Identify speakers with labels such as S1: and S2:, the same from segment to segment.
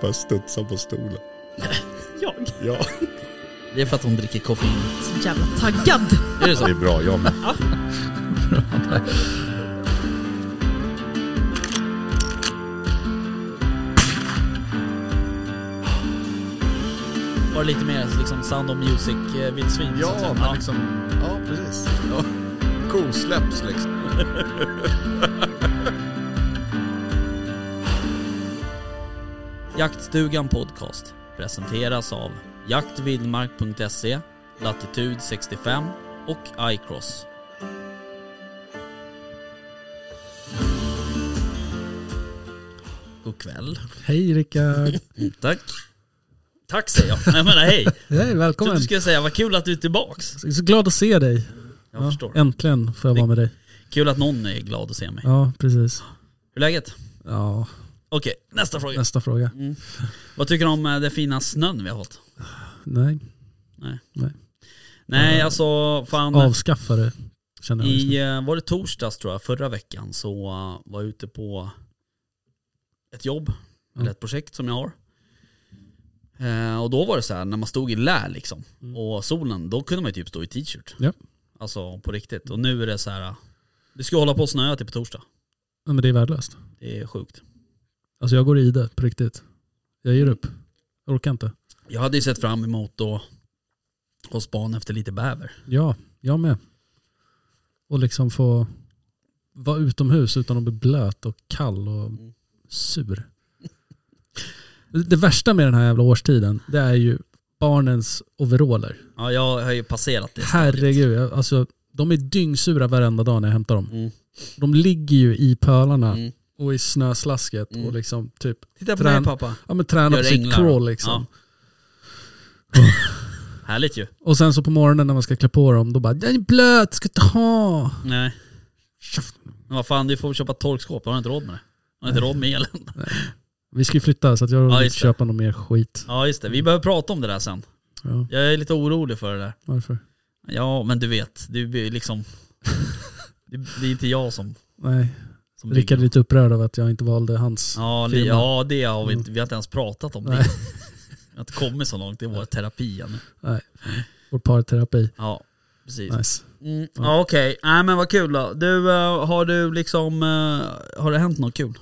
S1: Bara studsar på stolen.
S2: Jag.
S1: Ja,
S3: Det är för att hon dricker koffein.
S2: Så jävla taggad.
S3: Är det
S1: det är
S3: så?
S1: bra. Jag med.
S3: Var det lite mer liksom Sound of eh, Music-vildsvin?
S1: Ja, men liksom... Ja, precis. Ja. Kosläpps liksom.
S3: Jaktstugan Podcast presenteras av jaktvildmark.se, Latitude 65 och iCross. God kväll.
S4: Hej Rickard!
S3: Tack. Tack säger jag. Nej men hej.
S4: Hej,
S3: Jag
S4: välkommen!
S3: trodde du skulle säga vad kul att du är tillbaks.
S4: Jag är så glad att se dig.
S3: Jag
S4: Ja,
S3: förstår.
S4: Äntligen får jag
S3: Det-
S4: vara med dig.
S3: Kul att någon är glad att se mig.
S4: Ja, precis.
S3: Hur är läget?
S4: Ja,
S3: Okej, nästa fråga.
S4: nästa fråga.
S3: Mm. Vad tycker du om eh, den fina snön vi har fått?
S4: Nej,
S3: Nej alltså fan.
S4: avskaffa det känner jag Mm. just nu.
S3: I, eh, var det torsdags tror jag, förra veckan så eh, var jag ute på ett jobb, eller
S4: Mm.
S3: ett projekt som jag har. Eh, och då var det så här, när man stod i lä liksom och solen, då kunde man ju typ stå i t-shirt.
S4: Mm. Ja.
S3: Alltså på riktigt. Och nu är det så här, eh, det ska hålla på att snöa till på torsdag.
S4: Nej, men det är värdelöst.
S3: Det är sjukt.
S4: Alltså jag går i det på riktigt. Jag ger upp. Jag orkar inte.
S3: Jag hade ju sett fram emot att ha span efter lite bäver.
S4: Ja, jag med. Och liksom få vara utomhus utan att bli blöt och kall och
S3: Mm.
S4: sur. Det värsta med den här jävla årstiden, det är ju barnens overaller.
S3: Ja, jag har ju passerat det.
S4: Herregud, jag, alltså de är dyngsura varenda dag när jag hämtar dem.
S3: Mm.
S4: De ligger ju i pölarna
S3: Mm.
S4: och i snöslasket
S3: Mm.
S4: och liksom typ,
S3: Titta på
S4: Trän-
S3: mig pappa.
S4: ja men tränar
S3: Gör
S4: på sitt
S3: änglar.
S4: crawl liksom.
S3: Härligt ju.
S4: Och sen så på morgonen när man ska klä på dem, då bara den är blöt, ska inte ha.
S3: Nej. Men vad fan, du får väl köpa torkskåp. Har du inte råd med det? Har du inte råd med elen?
S4: Vi ska ju flytta så att jag
S3: Ja,
S4: vill
S3: just
S4: inte
S3: det.
S4: köpa någon mer skit.
S3: Ja just det, vi behöver prata om det där sen.
S4: Ja,
S3: Jag är lite orolig för det där.
S4: varför?
S3: Ja men du vet, du blir liksom... Det det är inte jag som...
S4: Nej,
S3: som
S4: Rickard
S3: bygger.
S4: är lite upprörd över att jag inte valde hans
S3: Ja, li-
S4: firma.
S3: ja det har vi inte. Vi har inte ens pratat om det.
S4: Nej.
S3: Vi har inte kommit så långt i vår terapi ännu.
S4: Vår parterapi.
S3: Ja, precis.
S4: Nice.
S3: Mm, ja, Okej, nej men vad kul då. Du, eh, har du liksom... eh, har det hänt något kul?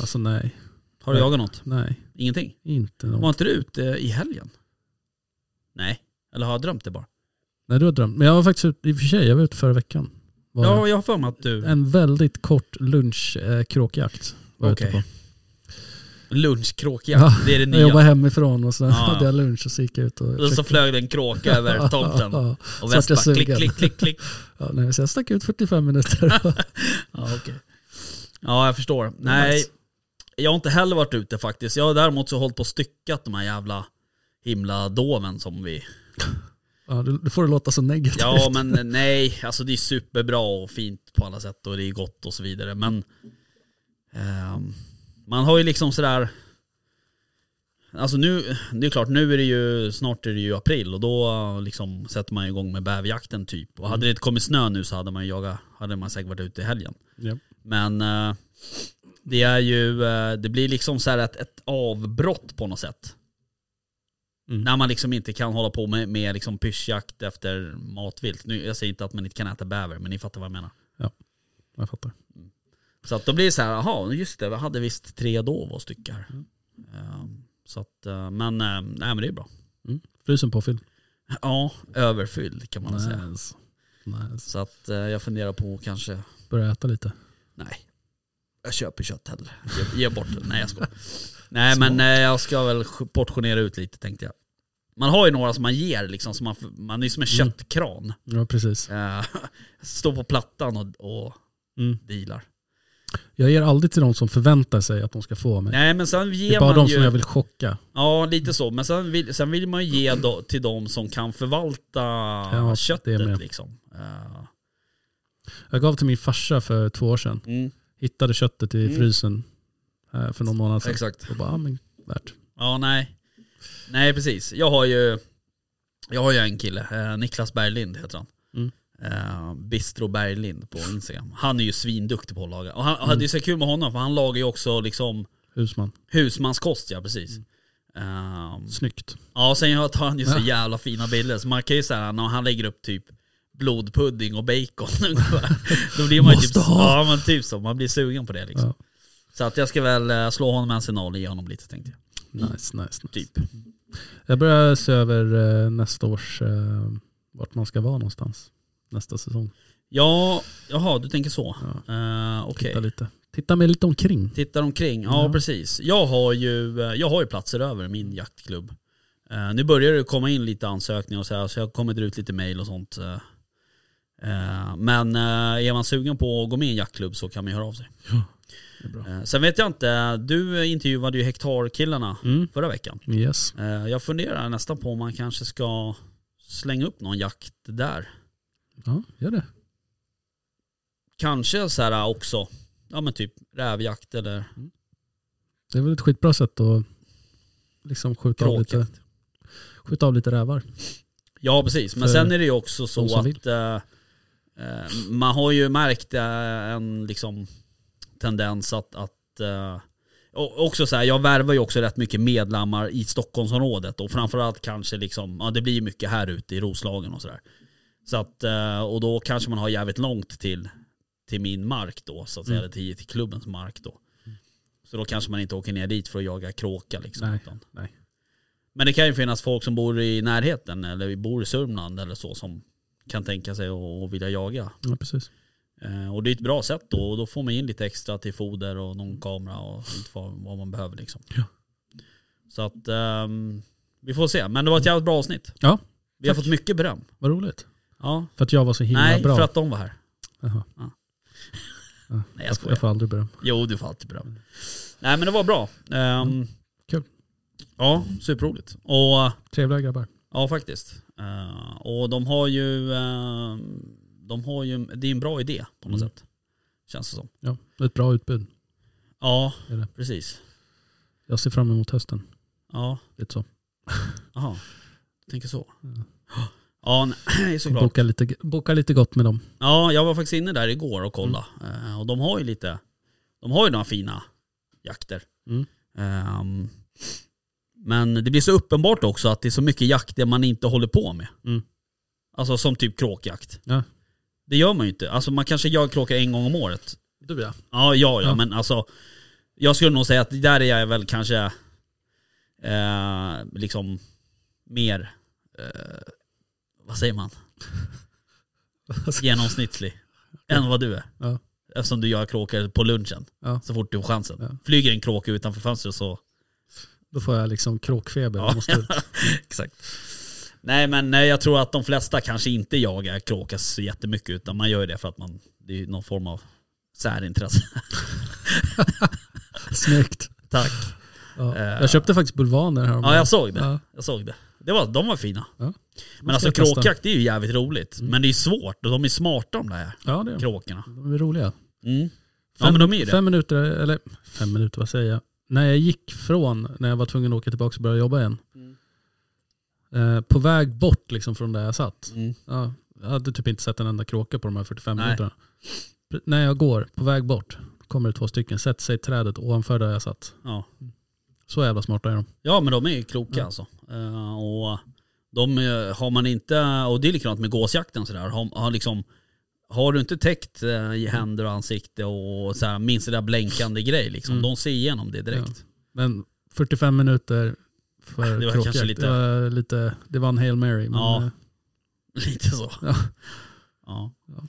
S4: Alltså nej,
S3: Har du
S4: Nej.
S3: jagat något?
S4: nej,
S3: Ingenting?
S4: inte
S3: Var
S4: någon.
S3: inte du ute i helgen? Nej, eller har jag drömt det bara?
S4: Nej du har drömt. Men jag var faktiskt ute, i och för sig, jag var ute förra veckan. Var
S3: Ja, jag har för mig att du...
S4: En väldigt kort lunchkråkjakt eh, kråkjakt var jag ute
S3: Okej.
S4: på.
S3: Lunchkråkjakt,
S4: Ja,
S3: det är det
S4: Jag jobbade
S3: nya.
S4: hemifrån och sen
S3: Ja, ja.
S4: hade jag lunch och så gick jag ut och...
S3: Och så flög det en kråka över tomten
S4: Ja,
S3: och
S4: Så att
S3: vespa.
S4: jag
S3: Klick,
S4: sugen.
S3: klick, klick, klick.
S4: ja, nej, så jag stack ut 45 minuter.
S3: Ja, okej. Ja, jag förstår. Nej, jag har inte heller varit ute faktiskt. Jag har däremot så hållit på och styckat de här jävla himla doven som vi...
S4: ja, du, du får det låta så negativt.
S3: Ja, men nej, alltså det är superbra och fint på alla sätt och det är gott och så vidare. Men ehm, man har ju liksom sådär... Alltså nu, det är klart nu är det ju, snart är det ju april och då liksom sätter man igång med bäverjakten typ. Och hade det inte kommit snö nu så hade man ju jagat, hade man säkert varit ute i helgen.
S4: Ja.
S3: Men eh, det är ju, eh, det blir liksom så här ett, ett avbrott på något sätt.
S4: Mm.
S3: När man liksom inte kan hålla på med, med liksom pyschjakt efter matvilt. Nu, jag säger inte att man inte kan äta bäver, men ni fattar vad jag menar.
S4: Jag fattar.
S3: Så att då blir det så här, jaha, just det, vi hade visst tre dov och styckar. Ehm, så att, eh, men, eh, nej men det är bra.
S4: Frysen påfylld.
S3: Ja, överfylld kan man säga.
S4: Nice. nice.
S3: Så att eh, jag funderar på kanske
S4: Börja äta lite.
S3: Nej. Jag köper kött hellre. Ge, ge bort det. Nej jag skojar. Nej men eh, jag ska väl sj- portionera ut lite tänkte jag. Man har ju några som man ger liksom, som man, f- man är ju som en köttkran.
S4: Ja, precis.
S3: Eh, Står på plattan och, och
S4: Mm.
S3: dealar.
S4: Jag ger aldrig till de som förväntar sig att de ska få av mig.
S3: Nej men sen
S4: det
S3: ger
S4: är bara
S3: man
S4: de
S3: ju...
S4: som jag vill chocka.
S3: Ja lite så, men sen vill, sen vill man ju ge då, till de som kan förvalta
S4: det
S3: köttet
S4: med.
S3: liksom. Eh,
S4: Jag gav till min farsa för två år sedan.
S3: mm,
S4: Hittade köttet i
S3: Mm.
S4: frysen eh, för någon månad sedan.
S3: exakt.
S4: Och bara, ja, men värt.
S3: Ja, nej. Nej, precis. Jag har ju, jag har ju en kille, eh, Niklas Berglind heter han.
S4: Mm.
S3: Eh, Bistro
S4: Mm.
S3: Berglind på Instagram. Han är ju svinduktig på att laga. Och han, och det är så kul med honom för han lagar ju också liksom
S4: Husman.
S3: Husmanskost ja, precis.
S4: Mm.
S3: Ehm,
S4: Snyggt.
S3: ja, sen jag tar han ju så jävla fina bilder så man kan ju säga när han lägger upp typ blodpudding och bacon ungefär. Då blir man ju typ,
S4: Måste ha.
S3: ja, men typ så, man blir sugen på det liksom.
S4: Ja.
S3: Så att jag ska väl eh, slå honom en signal och ge honom lite tänkte jag.
S4: Nice, nice, nice.
S3: Typ.
S4: Jag börjar se över eh, nästa års, eh, vart man ska vara någonstans nästa säsong.
S3: Ja, jaha du tänker så.
S4: Ja.
S3: Eh, Okej.
S4: Titta lite. Titta mig lite omkring.
S3: Tittar omkring, ja,
S4: Ja.
S3: precis. Jag har, ju, eh, jag har ju platser över i min jaktklubb. Eh, nu börjar det komma in lite ansökningar och så här, så jag kommer dra ut lite mail och sånt. eh. Eh, men eh, är man sugen på att gå med i en jaktklubb så kan man ju höra av sig.
S4: Det är bra.
S3: Eh, sen vet jag inte, du intervjuade ju hektarkillarna
S4: Mm.
S3: förra veckan.
S4: Yes.
S3: Eh, jag funderar nästan på om man kanske ska slänga upp någon jakt där.
S4: Ja, gör det.
S3: Kanske så här också, ja men typ rävjakt eller
S4: Det är väl ett skitbra sätt att liksom skjuta, av lite,
S3: kråkjakt.
S4: skjuta av lite rävar.
S3: Ja precis, men
S4: För
S3: sen är det ju också
S4: de
S3: så
S4: som
S3: att
S4: vill.
S3: eh, eh, man har ju märkt eh, en liksom, tendens att, att eh, och också så här, jag värvar ju också rätt mycket medlemmar i Stockholmsområdet och framförallt kanske liksom, ja det blir ju mycket här ute i Roslagen och sådär. Så att, eh, och då kanske man har jävligt långt till, till min mark då, så att säga,
S4: Mm.
S3: eller till, till klubbens mark då. Så då kanske man inte åker ner dit för att jaga kråka liksom.
S4: Nej,
S3: utan-
S4: nej.
S3: men det kan ju finnas folk som bor i närheten eller bor i Sörmland eller så som kan tänka sig att vilja jaga.
S4: Ja, precis.
S3: Eh, och det är ett bra sätt då och då får man in lite extra till foder och någon kamera och inte vad, vad man behöver liksom.
S4: Ja.
S3: Så att ehm, vi får se. Men det var ett jävligt bra avsnitt.
S4: Ja,
S3: Vi har
S4: tack.
S3: fått mycket beröm.
S4: Vad roligt.
S3: Ja.
S4: För att jag var så himla
S3: Nej,
S4: bra.
S3: för att de var här.
S4: Jaha.
S3: Ja.
S4: Ja,
S3: Nej, jag
S4: jag, får,
S3: skojar.
S4: jag får aldrig beröm.
S3: Jo, du får alltid beröm. Nej, men det var bra. Ehm,
S4: Mm. Kul.
S3: Ja, superroligt. Och
S4: Trevliga grabbar.
S3: Ja faktiskt. Eh, och de har ju, eh, de har ju, det är en bra idé på något
S4: Mm.
S3: sätt. Känns det som.
S4: Ja, ett bra utbud.
S3: Ja,
S4: Är det.
S3: precis.
S4: Jag ser fram emot hösten.
S3: Ja,
S4: Lite så.
S3: jaha. Jag Tänker så.
S4: Mm.
S3: Ja, nej, såklart.
S4: Boka lite, boka lite gott med dem.
S3: Ja, jag var faktiskt inne där igår och kollade. Eh, och de har ju lite, de har ju några fina jakter.
S4: Mm.
S3: Ehm, men det blir så uppenbart också att det är så mycket jakter man inte håller på med.
S4: Mm.
S3: Alltså som typ kråkjakt.
S4: Ja.
S3: Det gör man ju inte. Alltså man kanske jagar kråkar en gång om året.
S4: Du ja.
S3: Ja, ja, ja,
S4: Ja.
S3: men alltså. Jag skulle nog säga att där är jag väl kanske eh, liksom mer, eh, vad säger man, genomsnittlig än vad du är.
S4: Ja.
S3: Eftersom du gör kråkor på lunchen
S4: Ja.
S3: så fort du har chansen.
S4: Ja.
S3: Flyger en kråka utanför fönstret så...
S4: Då får jag liksom kråkfeber.
S3: Ja.
S4: Jag måste ut.
S3: Exakt. Nej men nej, jag tror att de flesta kanske inte jagar kråka så jättemycket utan man gör ju det för att man, det är ju någon form av särintresse.
S4: Snyggt.
S3: Tack.
S4: Ja.
S3: Eh.
S4: Jag köpte faktiskt bulvaner här.
S3: Ja jag såg det.
S4: Ja,
S3: Jag såg det. det var, de var fina.
S4: Ja.
S3: Men alltså
S4: jag testa. Mm.
S3: kråkjakt det är ju jävligt roligt. Men det är svårt och de är smarta de där
S4: ja det är de.
S3: kråkorna.
S4: de. är roliga.
S3: Mm. Ja men de är ju det.
S4: Fem minuter, eller fem minuter vad säger jag? När jag gick från, när jag var tvungen att åka tillbaka och börja jobba igen.
S3: Mm.
S4: Eh, på väg bort liksom från där jag satt.
S3: Mm.
S4: Ja, jag hade typ inte sett en enda kråka på de här 45
S3: Nej.
S4: minuterna. Pre- När jag går, på väg bort, kommer det två stycken. Sätter sig i trädet ovanför där jag satt.
S3: Ja.
S4: Så jävla smarta är de.
S3: ja men de är ju kloka alltså. Eh, och de eh, har man inte, och det är likadant med gåsjakten sådär. Har, har, liksom, har du inte täckt eh, i händer och ansikte och så här, minst det där blänkande grej liksom.
S4: Mm.
S3: De ser igenom det direkt.
S4: Men 45 minuter för
S3: Det var
S4: kråkjakt,
S3: kanske lite-
S4: Det, var lite, det var en Hail Mary. Men
S3: Ja.
S4: eh,
S3: Lite så.
S4: Ja.
S3: Ja,
S4: Ja.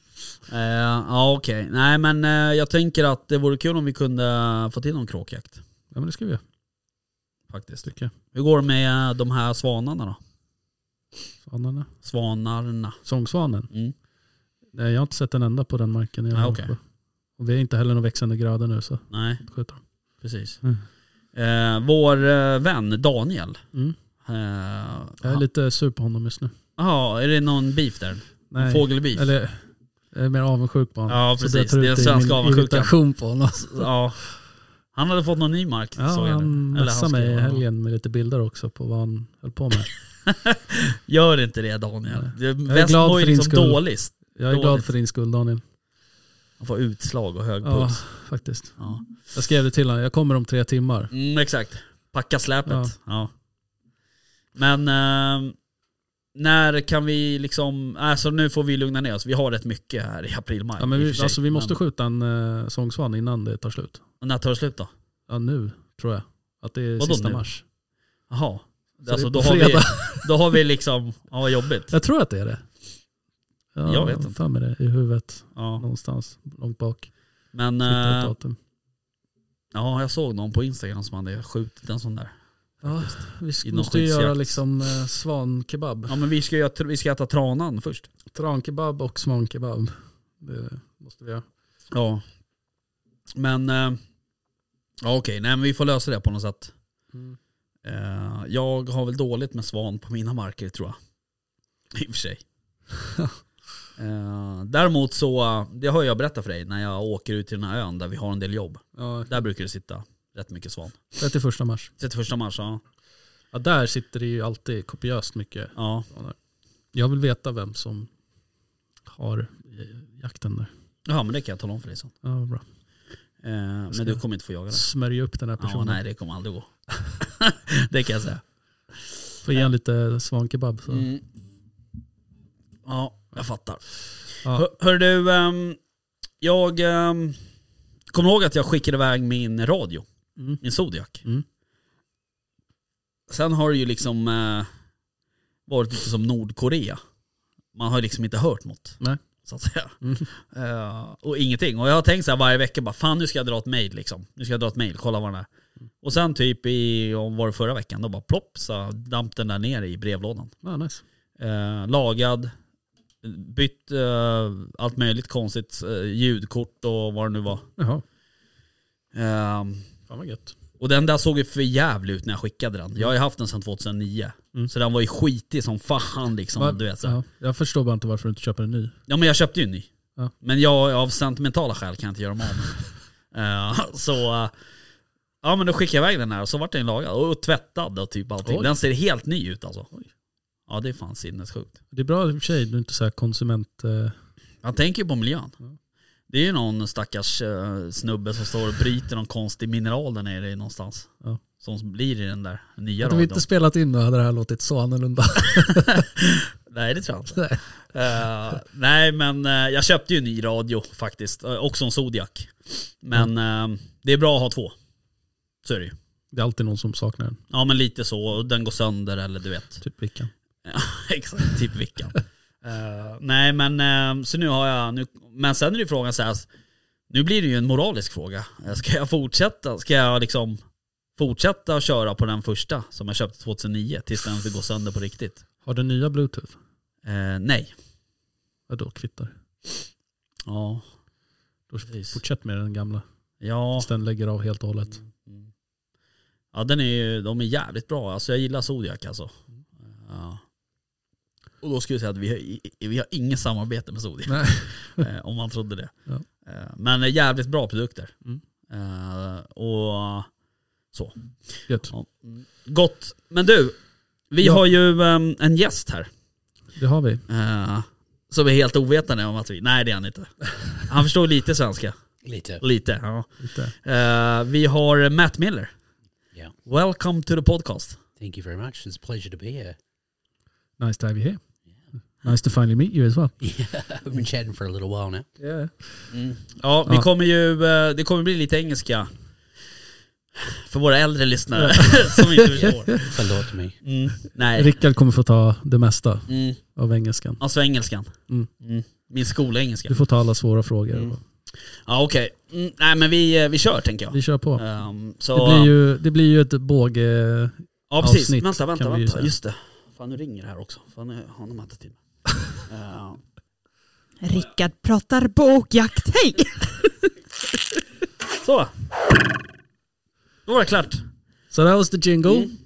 S3: Eh, ja okej. Nej men eh, jag tänker att det vore kul om vi kunde få till någon kråkjakt.
S4: ja, men det ska vi göra
S3: Faktiskt.
S4: tycker jag.
S3: Hur går det med eh, de här svanarna då?
S4: Svanarna.
S3: Svanarna.
S4: Sångsvanen.
S3: Mm.
S4: Nej, jag har inte sett en enda på den marken. Jag
S3: Ah,
S4: har
S3: okej.
S4: varit på. Och vi är inte heller någon växande gröda nu så
S3: Nej,
S4: skjuter dem.
S3: precis.
S4: Mm.
S3: Eh, vår eh, vän Daniel.
S4: Mm.
S3: Eh,
S4: Jag är
S3: han-
S4: lite sur på honom just nu.
S3: Ja, är det någon beef där?
S4: Nej.
S3: Fågelbeef?
S4: Eller jag är mer avundsjuk på honom.
S3: Ja,
S4: Så
S3: precis.
S4: tar
S3: Det är
S4: ut i
S3: svenska
S4: min
S3: avundsjukan.
S4: irritation på honom.
S3: Ja. Han hade fått någon ny mark
S4: Ja,
S3: såg jag nu.
S4: han
S3: Eller
S4: messade mig
S3: skrev-
S4: i helgen med lite bilder också på vad han höll på med.
S3: Gör inte det Daniel. Du,
S4: är glad
S3: Västmo är
S4: för din
S3: liksom
S4: skull.
S3: dålig.
S4: Jag är
S3: Dåligt.
S4: glad för din skull Daniel.
S3: Han får utslag och hög
S4: Ja,
S3: puls.
S4: faktiskt.
S3: Ja.
S4: Jag skrev det till honom, jag kommer om tre timmar.
S3: Mm, exakt. Packa släpet.
S4: Ja.
S3: Ja. Men eh, när kan vi liksom, alltså nu får vi lugna ner oss. Vi har rätt mycket här i april-maj.
S4: Ja, men
S3: i och
S4: vi,
S3: för sig.
S4: alltså, vi måste
S3: Men-
S4: skjuta en eh, sångsvan innan det tar slut.
S3: När tar det slut då?
S4: Ja, nu tror jag. Att det är
S3: Vadå
S4: sista
S3: nu?
S4: mars.
S3: Jaha.
S4: Så
S3: Alltså,
S4: det
S3: då,
S4: är på
S3: har vi,
S4: fredag.
S3: då har vi liksom, ja vad jobbigt.
S4: Jag tror att det är det. Ja,
S3: Jag vet inte.
S4: Fan med det i huvudet
S3: Ja.
S4: någonstans långt bak.
S3: Men
S4: Hittar ett
S3: eh,
S4: datum.
S3: ja, jag såg någon på Instagram som hade skjutit en sån där.
S4: Ja, vi sk-
S3: Inom
S4: måste ju
S3: skyddsjakt.
S4: göra liksom eh, svankebab.
S3: Ja men vi ska, ju äta- vi ska äta tranan först.
S4: Trankebab och svankebab. Det måste vi göra.
S3: Ja. Men, eh, ja okej, nej men vi får lösa det på något sätt.
S4: Mm.
S3: Eh, jag har väl dåligt med svan på mina marker tror jag. I och för sig. eh, däremot så, eh, det har jag berättat för dig, när jag åker ut till den här ön där vi har en del jobb.
S4: Ja,
S3: Där brukar det sitta rätt mycket svan.
S4: 31 mars.
S3: 31 mars, ja.
S4: Ja, där sitter det ju alltid kopiöst mycket.
S3: ja.
S4: Jag vill veta vem som har eh, jakten där.
S3: Ja men det kan jag tala om för dig sen.
S4: Ja, vad bra.
S3: Eh, men
S4: ska-
S3: du kommer inte få jaga det.
S4: Smörja upp den här
S3: Ja,
S4: personen.
S3: nej det kommer aldrig gå. det kan jag säga.
S4: Få ge en lite svankebab. Så.
S3: Mm. Ja, jag fattar.
S4: Ja.
S3: Hör, hör du, ehm, jag um, kommer ihåg att jag skickade iväg min radio,
S4: Mm.
S3: min Zodiac.
S4: Mm.
S3: Sen har det ju liksom eh, varit lite som Nordkorea. Man har ju liksom inte hört något.
S4: Nej.
S3: Så att säga.
S4: Mm.
S3: Eh, och ingenting. Och jag har tänkt så här varje vecka bara, fan nu ska jag dra ett mail liksom. Nu ska jag dra ett mail, kolla vad den är. Och sen typ i, om var det förra veckan, då bara plopp så damp den där ner i brevlådan.
S4: Ja, nice.
S3: Eh, lagad, bytt eh, allt möjligt konstigt, eh, ljudkort och vad det nu var.
S4: Jaha,
S3: Eh,
S4: fan vad gött.
S3: och den där såg ju för jävligt ut när jag skickade den. Jag har ju haft den sedan 2009.
S4: Mm.
S3: Så den var ju skitig som fan liksom.
S4: Va-
S3: Du vet, så. här.
S4: ja, jag förstår bara inte varför du inte köper en ny.
S3: Ja men jag köpte ju en ny.
S4: Ja.
S3: Men jag av sentimentala skäl kan jag inte göra mig av med den. Eh, Så eh, ja men då skickade jag iväg den här och så vart den lagad och tvättad och typ allting.
S4: Oj.
S3: Den ser helt ny ut alltså. Ja det är fan sinnessjukt.
S4: Det är bra i och för sig, du är inte så här konsument... Eh,
S3: Jag tänker ju på miljön.
S4: Ja.
S3: Det är ju någon stackars eh, snubbe som står och bryter någon konstig mineral där nere i någonstans.
S4: Ja.
S3: Som blir i den där nya
S4: hade vi
S3: radion.
S4: inte spelat in då hade det här låtit så annorlunda.
S3: Nej det tror jag inte. Eh, nej men eh, jag köpte ju en ny radio faktiskt. eh, också en Zodiac. Men eh, det är bra att ha två. Så är det ju.
S4: Det är alltid någon som saknar den,
S3: Ja men lite så, och den går sönder eller du vet.
S4: typ Vickan.
S3: Ja, exakt, typ vickan. Eh, nej men, eh, så nu har jag, nu, men sen är det frågan så här, alltså, nu blir det ju en moralisk fråga. Eh, Ska jag fortsätta, ska jag liksom fortsätta att köra på den första som jag köpte 2009 tills den går sönder på riktigt?
S4: Har den nya bluetooth?
S3: Eh, nej.
S4: Ja, då kvittar
S3: Ja.
S4: Då
S3: Precis.
S4: Fortsätt med den gamla,
S3: Ja.
S4: tills den lägger av helt och hållet.
S3: Mm. Ja den är ju, de är jävligt bra. Alltså jag gillar Zodiac alltså. Ja. Och då skulle jag säga att vi har, i- i- vi har inget samarbete med Zodiac.
S4: Nej.
S3: Eh, om man trodde det.
S4: Ja.
S3: Eh, Men eh, jävligt bra produkter.
S4: Mm.
S3: Eh, Och så.
S4: Gött.
S3: Ja. Mm. Gott. Men du, vi
S4: Ja.
S3: har ju ehm, en gäst här.
S4: Det har vi.
S3: eh, Som är helt ovetande om att vi... Nej det är han inte. Han förstår lite svenska.
S5: Lite.
S3: Lite. Ja.
S4: Lite.
S3: Eh, Vi har Matt Miller.
S5: Yeah.
S3: Welcome to the podcast.
S5: Thank you very much. It's a pleasure to be here.
S4: Nice to have you here. Nice to finally meet you as well.
S5: We've been chatting for a little while now.
S4: Yeah.
S3: Ja, vi
S4: Ja.
S3: kommer ju... eh, Det kommer bli lite engelska. För våra äldre lyssnare som inte förstår.
S5: Förlåt mig.
S3: Mm. Nej.
S4: Rickard kommer få ta det mesta
S3: Mm.
S4: av engelskan.
S3: Alltså engelskan.
S4: Mm.
S3: Mm. Min skolengelska.
S4: Du får ta alla svåra frågor.
S3: Mm. Ja okej. Mm, nej men vi, eh, vi kör tänker jag.
S4: Vi kör på.
S3: Ehm,
S4: Det
S3: så,
S4: blir ju, det blir ju ett båge...
S3: ja precis.
S4: avsnitt
S3: vänta, vänta,
S4: kan vi ju
S3: vänta.
S4: säga.
S3: Just det. Fan nu ringer det här också. Fan nu har de inte tid. Ehm,
S2: Rickard pratar bågjakt. Hej!
S3: så. Då var det klart.
S4: So that was the jingle.
S3: Mm.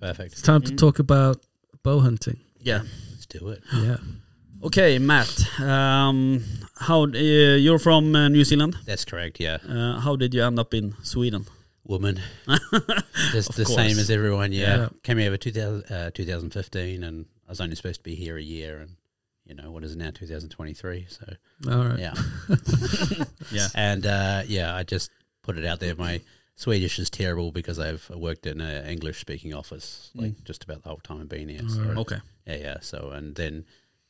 S5: Perfect.
S4: It's time to talk about bow hunting.
S3: Yeah.
S5: Let's do it.
S4: Yeah.
S3: Okej Matt. Ehm, how, eh, you're from eh, New Zealand.
S5: That's correct, yeah.
S3: Eh, how did you end up in Sweden?
S5: Woman. Just
S3: Of
S5: the
S3: course.
S5: same as everyone, yeah.
S4: Yeah.
S5: Came here over 2000, uh, 2015 and I was only supposed to be here a year and you know, what is it now, 2023? So,
S4: All right.
S5: yeah.
S3: Yeah.
S5: And uh, yeah, I just put it out there. My Swedish is terrible because I've worked in an English speaking office like just about the whole time I've been here. So,
S4: Alright.
S3: Okej.
S5: Yeah, yeah. So, and then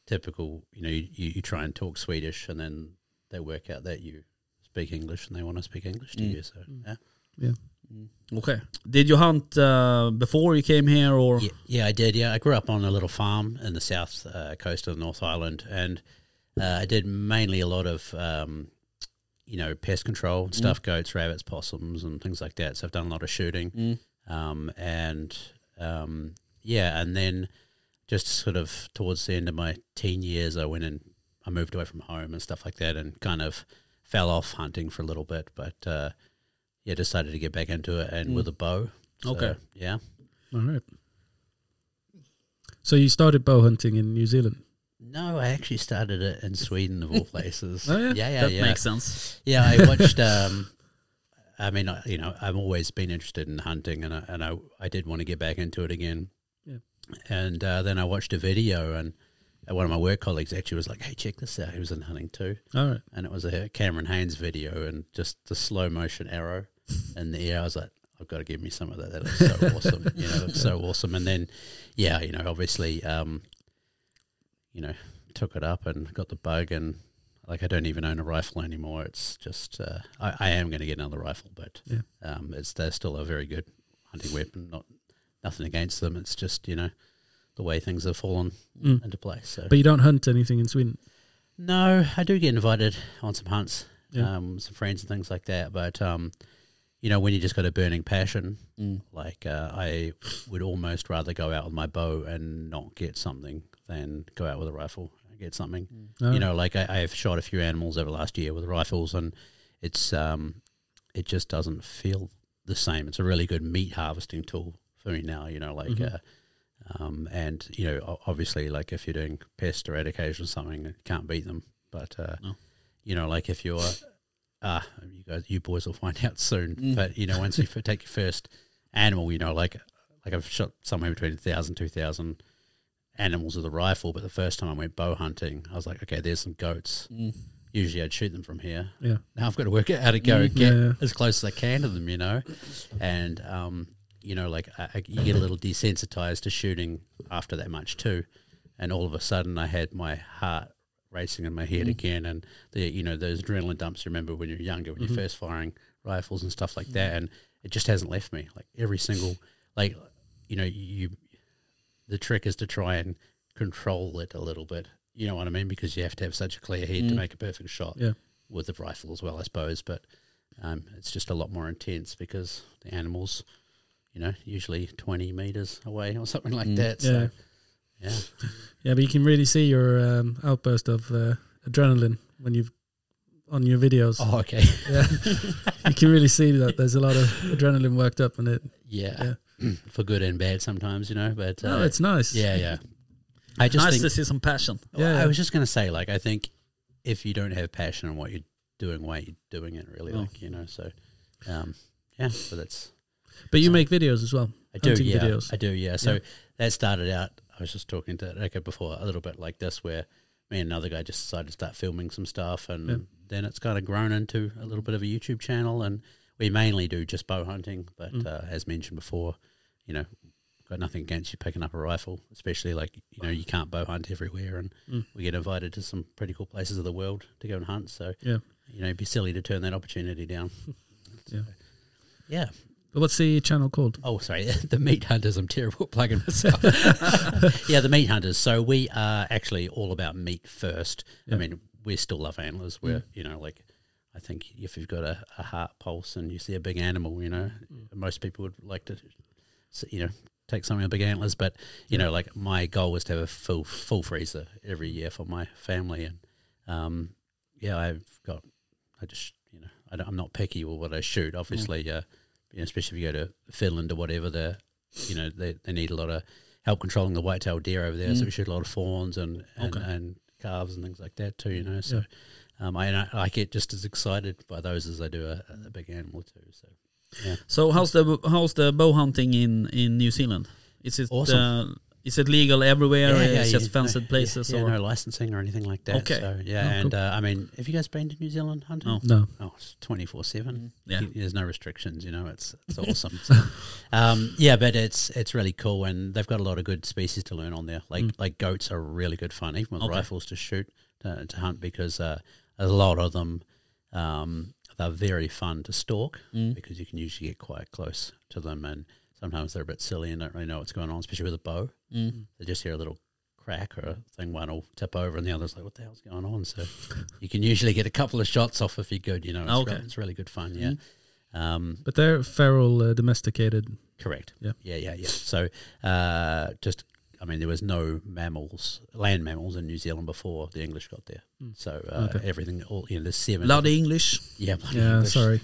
S5: typical, you know, you, you try and talk Swedish and then they work out that you speak English and they want to speak English to
S3: Mm.
S5: you. So, yeah.
S3: Okay. Did you hunt uh, before you came here or?
S5: Yeah, yeah, I did. Yeah, I grew up on a little farm in the south uh, coast of the North Island, and uh, I did mainly a lot of, um, you know, pest control and stuff, goats, rabbits, possums, and things like that. So I've done a lot of shooting,
S3: Mm.
S5: um, and um, yeah, and then just sort of towards the end of my teen years, I went and I moved away from home and stuff like that, and kind of fell off hunting for a little bit, but uh, yeah, decided to get back into it and
S3: Mm.
S5: with a bow. So,
S3: Okay.
S5: Yeah.
S4: All right. So you started bow hunting in New Zealand.
S5: No, I actually started it in Sweden of all places.
S4: Oh, yeah?
S5: yeah, yeah,
S3: That
S5: yeah.
S3: makes sense.
S5: Yeah, I watched. Um, I mean, I, you know, I've always been interested in hunting, and I, and I, I did want to get back into it again.
S4: Yeah.
S5: And uh, then I watched a video, and one of my work colleagues actually was like, "Hey, check this out." He was in hunting too,
S4: All right.
S5: and it was a Cameron Haynes video, and just the slow motion arrow in the air. I was like, I've got to give me some of that. That looks so awesome. You know, it's so awesome. And then, yeah, you know, obviously, um, you know, took it up and got the bug, and like I don't even own a rifle anymore. It's just uh, I, I am going to get another rifle, but
S4: Yeah.
S5: um, it's they're still a very good hunting weapon. Not nothing against them. It's just you know the way things have fallen
S4: Mm.
S5: into place. So.
S4: But you don't hunt anything in Sweden.
S5: No, I do get invited on some hunts,
S4: Yeah.
S5: um, some friends and things like that. But um, you know, when you just got a burning passion, like uh, I would almost rather go out with my bow and not get something than go out with a rifle and get something.
S4: All
S5: You
S4: right.
S5: know, like I, I have shot a few animals over the last year with rifles, and it's um, it just doesn't feel the same. It's a really good meat harvesting tool for me now. You know, like.
S4: Mhm.
S5: Uh, um, and you know, o- obviously, like if you're doing pest eradication or something, you can't beat them. But uh,
S3: No.
S5: you know, like if you're, uh, you guys, you boys will find out soon.
S3: Mm.
S5: But you know, once you f- take your first animal, you know, like like I've shot somewhere between 1,000, 2,000 animals with a rifle. But the first time I went bow hunting, I was like, okay, there's some goats.
S3: Mm.
S5: Usually, I'd shoot them from here.
S4: Yeah. Mm,
S5: Now I've got to work out how to go and get
S4: Yeah, yeah.
S5: as close as I can to them, you know. And um, you know, like I, I, you get a little desensitized to shooting after that much too. And all of a sudden, I had my heart racing in my
S4: Mm.
S5: head again, and the you know those adrenaline dumps. You remember when you're younger,
S4: Mm-hmm.
S5: when you're first firing rifles and stuff like that, and it just hasn't left me. Like every single, like you know, you the trick is to try and control it a little bit. You know what I mean? Because you have to have such a clear head to make a perfect shot
S4: Mm. Yeah.
S5: with the rifle as well, I suppose. But um, it's just a lot more intense because the animals, you know, usually 20 meters away or something
S4: Mm.
S5: like that. So, yeah.
S4: Yeah, but you can really see your um, outburst of uh, adrenaline when you've on your videos.
S5: Oh, okay.
S4: Yeah, you can really see that there's a lot of adrenaline worked up in it.
S5: Yeah. For good and bad sometimes, you know, but
S4: No,
S5: uh,
S4: oh, it's nice.
S5: yeah, yeah. I just
S3: nice
S5: think
S3: to see some passion.
S5: Well,
S4: Yeah.
S5: I was just going to say, like, I think if you don't have passion on what you're doing, why you're doing it, really,
S3: Oh.
S5: like, you know, so, um, yeah, but that's,
S4: But you make videos as well.
S5: I do,
S4: Hunting
S5: yeah,
S4: videos.
S5: I do, yeah. So
S4: Yeah.
S5: that started out, I was just talking to Rekha before, a little bit like this, where me and another guy just decided to start filming some stuff, and
S4: Yeah.
S5: then it's kind of grown into a little bit of a YouTube channel, and we mainly do just bow hunting, but
S4: Mm.
S5: uh, as mentioned before, you know, got nothing against you picking up a rifle, especially like you know you can't bow hunt everywhere, and
S4: Mm.
S5: we get invited to some pretty cool places of the world to go and hunt. So
S4: Yeah.
S5: you know, it'd be silly to turn that opportunity down.
S4: Yeah.
S5: Yeah.
S4: But what's the channel called?
S5: Oh, sorry. The meat hunters. I'm terrible at plugging myself. yeah, the meat hunters. So we are actually all about meat first.
S4: Yeah.
S5: I mean, we still love antlers. We're you know like. I think if you've got a, a heart pulse and you see a big animal, you know, most people would like to, s- you know, take something with big antlers. But you know, like my goal was to have a full full freezer every year for my family, and um, yeah, I've got, I just you know, I don't, I'm not picky with what I shoot. Obviously, uh, you know, especially if you go to Finland or whatever, they you know they, they need a lot of help controlling the white-tailed deer over there. So we shoot a lot of fawns and and,
S3: Okay.
S5: and calves and things like that too. You know, so. Um, I, and I- I get just as excited by those as I do a, a big animal too. So
S3: So how's the how's the bow hunting in in New Zealand? Is it
S5: Awesome.
S3: uh, Is it legal everywhere?
S5: Yeah,
S3: or
S5: yeah,
S3: it's
S5: yeah,
S3: just fenced
S5: no,
S3: places?
S5: yeah,
S3: or?
S5: no licensing or anything like that.
S3: Okay.
S5: So, yeah,
S4: Oh,
S5: and uh, I mean, have you guys been to New Zealand hunting?
S3: No.
S4: No.
S5: Oh, it's twenty four seven.
S3: Yeah.
S5: there's no restrictions. You know, it's it's awesome. So, um, yeah, but it's it's really cool, and they've got a lot of good species to learn on there. Like like goats are really good fun, even with
S3: Mm. Okay.
S5: rifles to shoot to, to hunt because uh, a lot of them um, they're very fun to stalk
S3: Mm.
S4: Mm.
S5: because you can usually get quite close to them, and sometimes they're a bit silly and don't really know what's going on, especially with a bow.
S3: Mm.
S5: They just hear a little crack or a thing, one will tip over and the other's like, what the hell's going on? So you can usually get a couple of shots off if you're good, you know. It's,
S3: Okay.
S5: re- it's really good fun, yeah.
S4: Mm.
S5: Um,
S4: But they're feral, uh, domesticated.
S5: correct.
S4: Yeah.
S5: Yeah, yeah, yeah. So uh, just, I mean, there was no mammals, land mammals in New Zealand before the English got there. So uh,
S4: Mm. Okay.
S5: everything, all, you know, there's seven.
S3: Bloody English.
S5: yeah, bloody
S4: Yeah,
S5: English.
S4: sorry.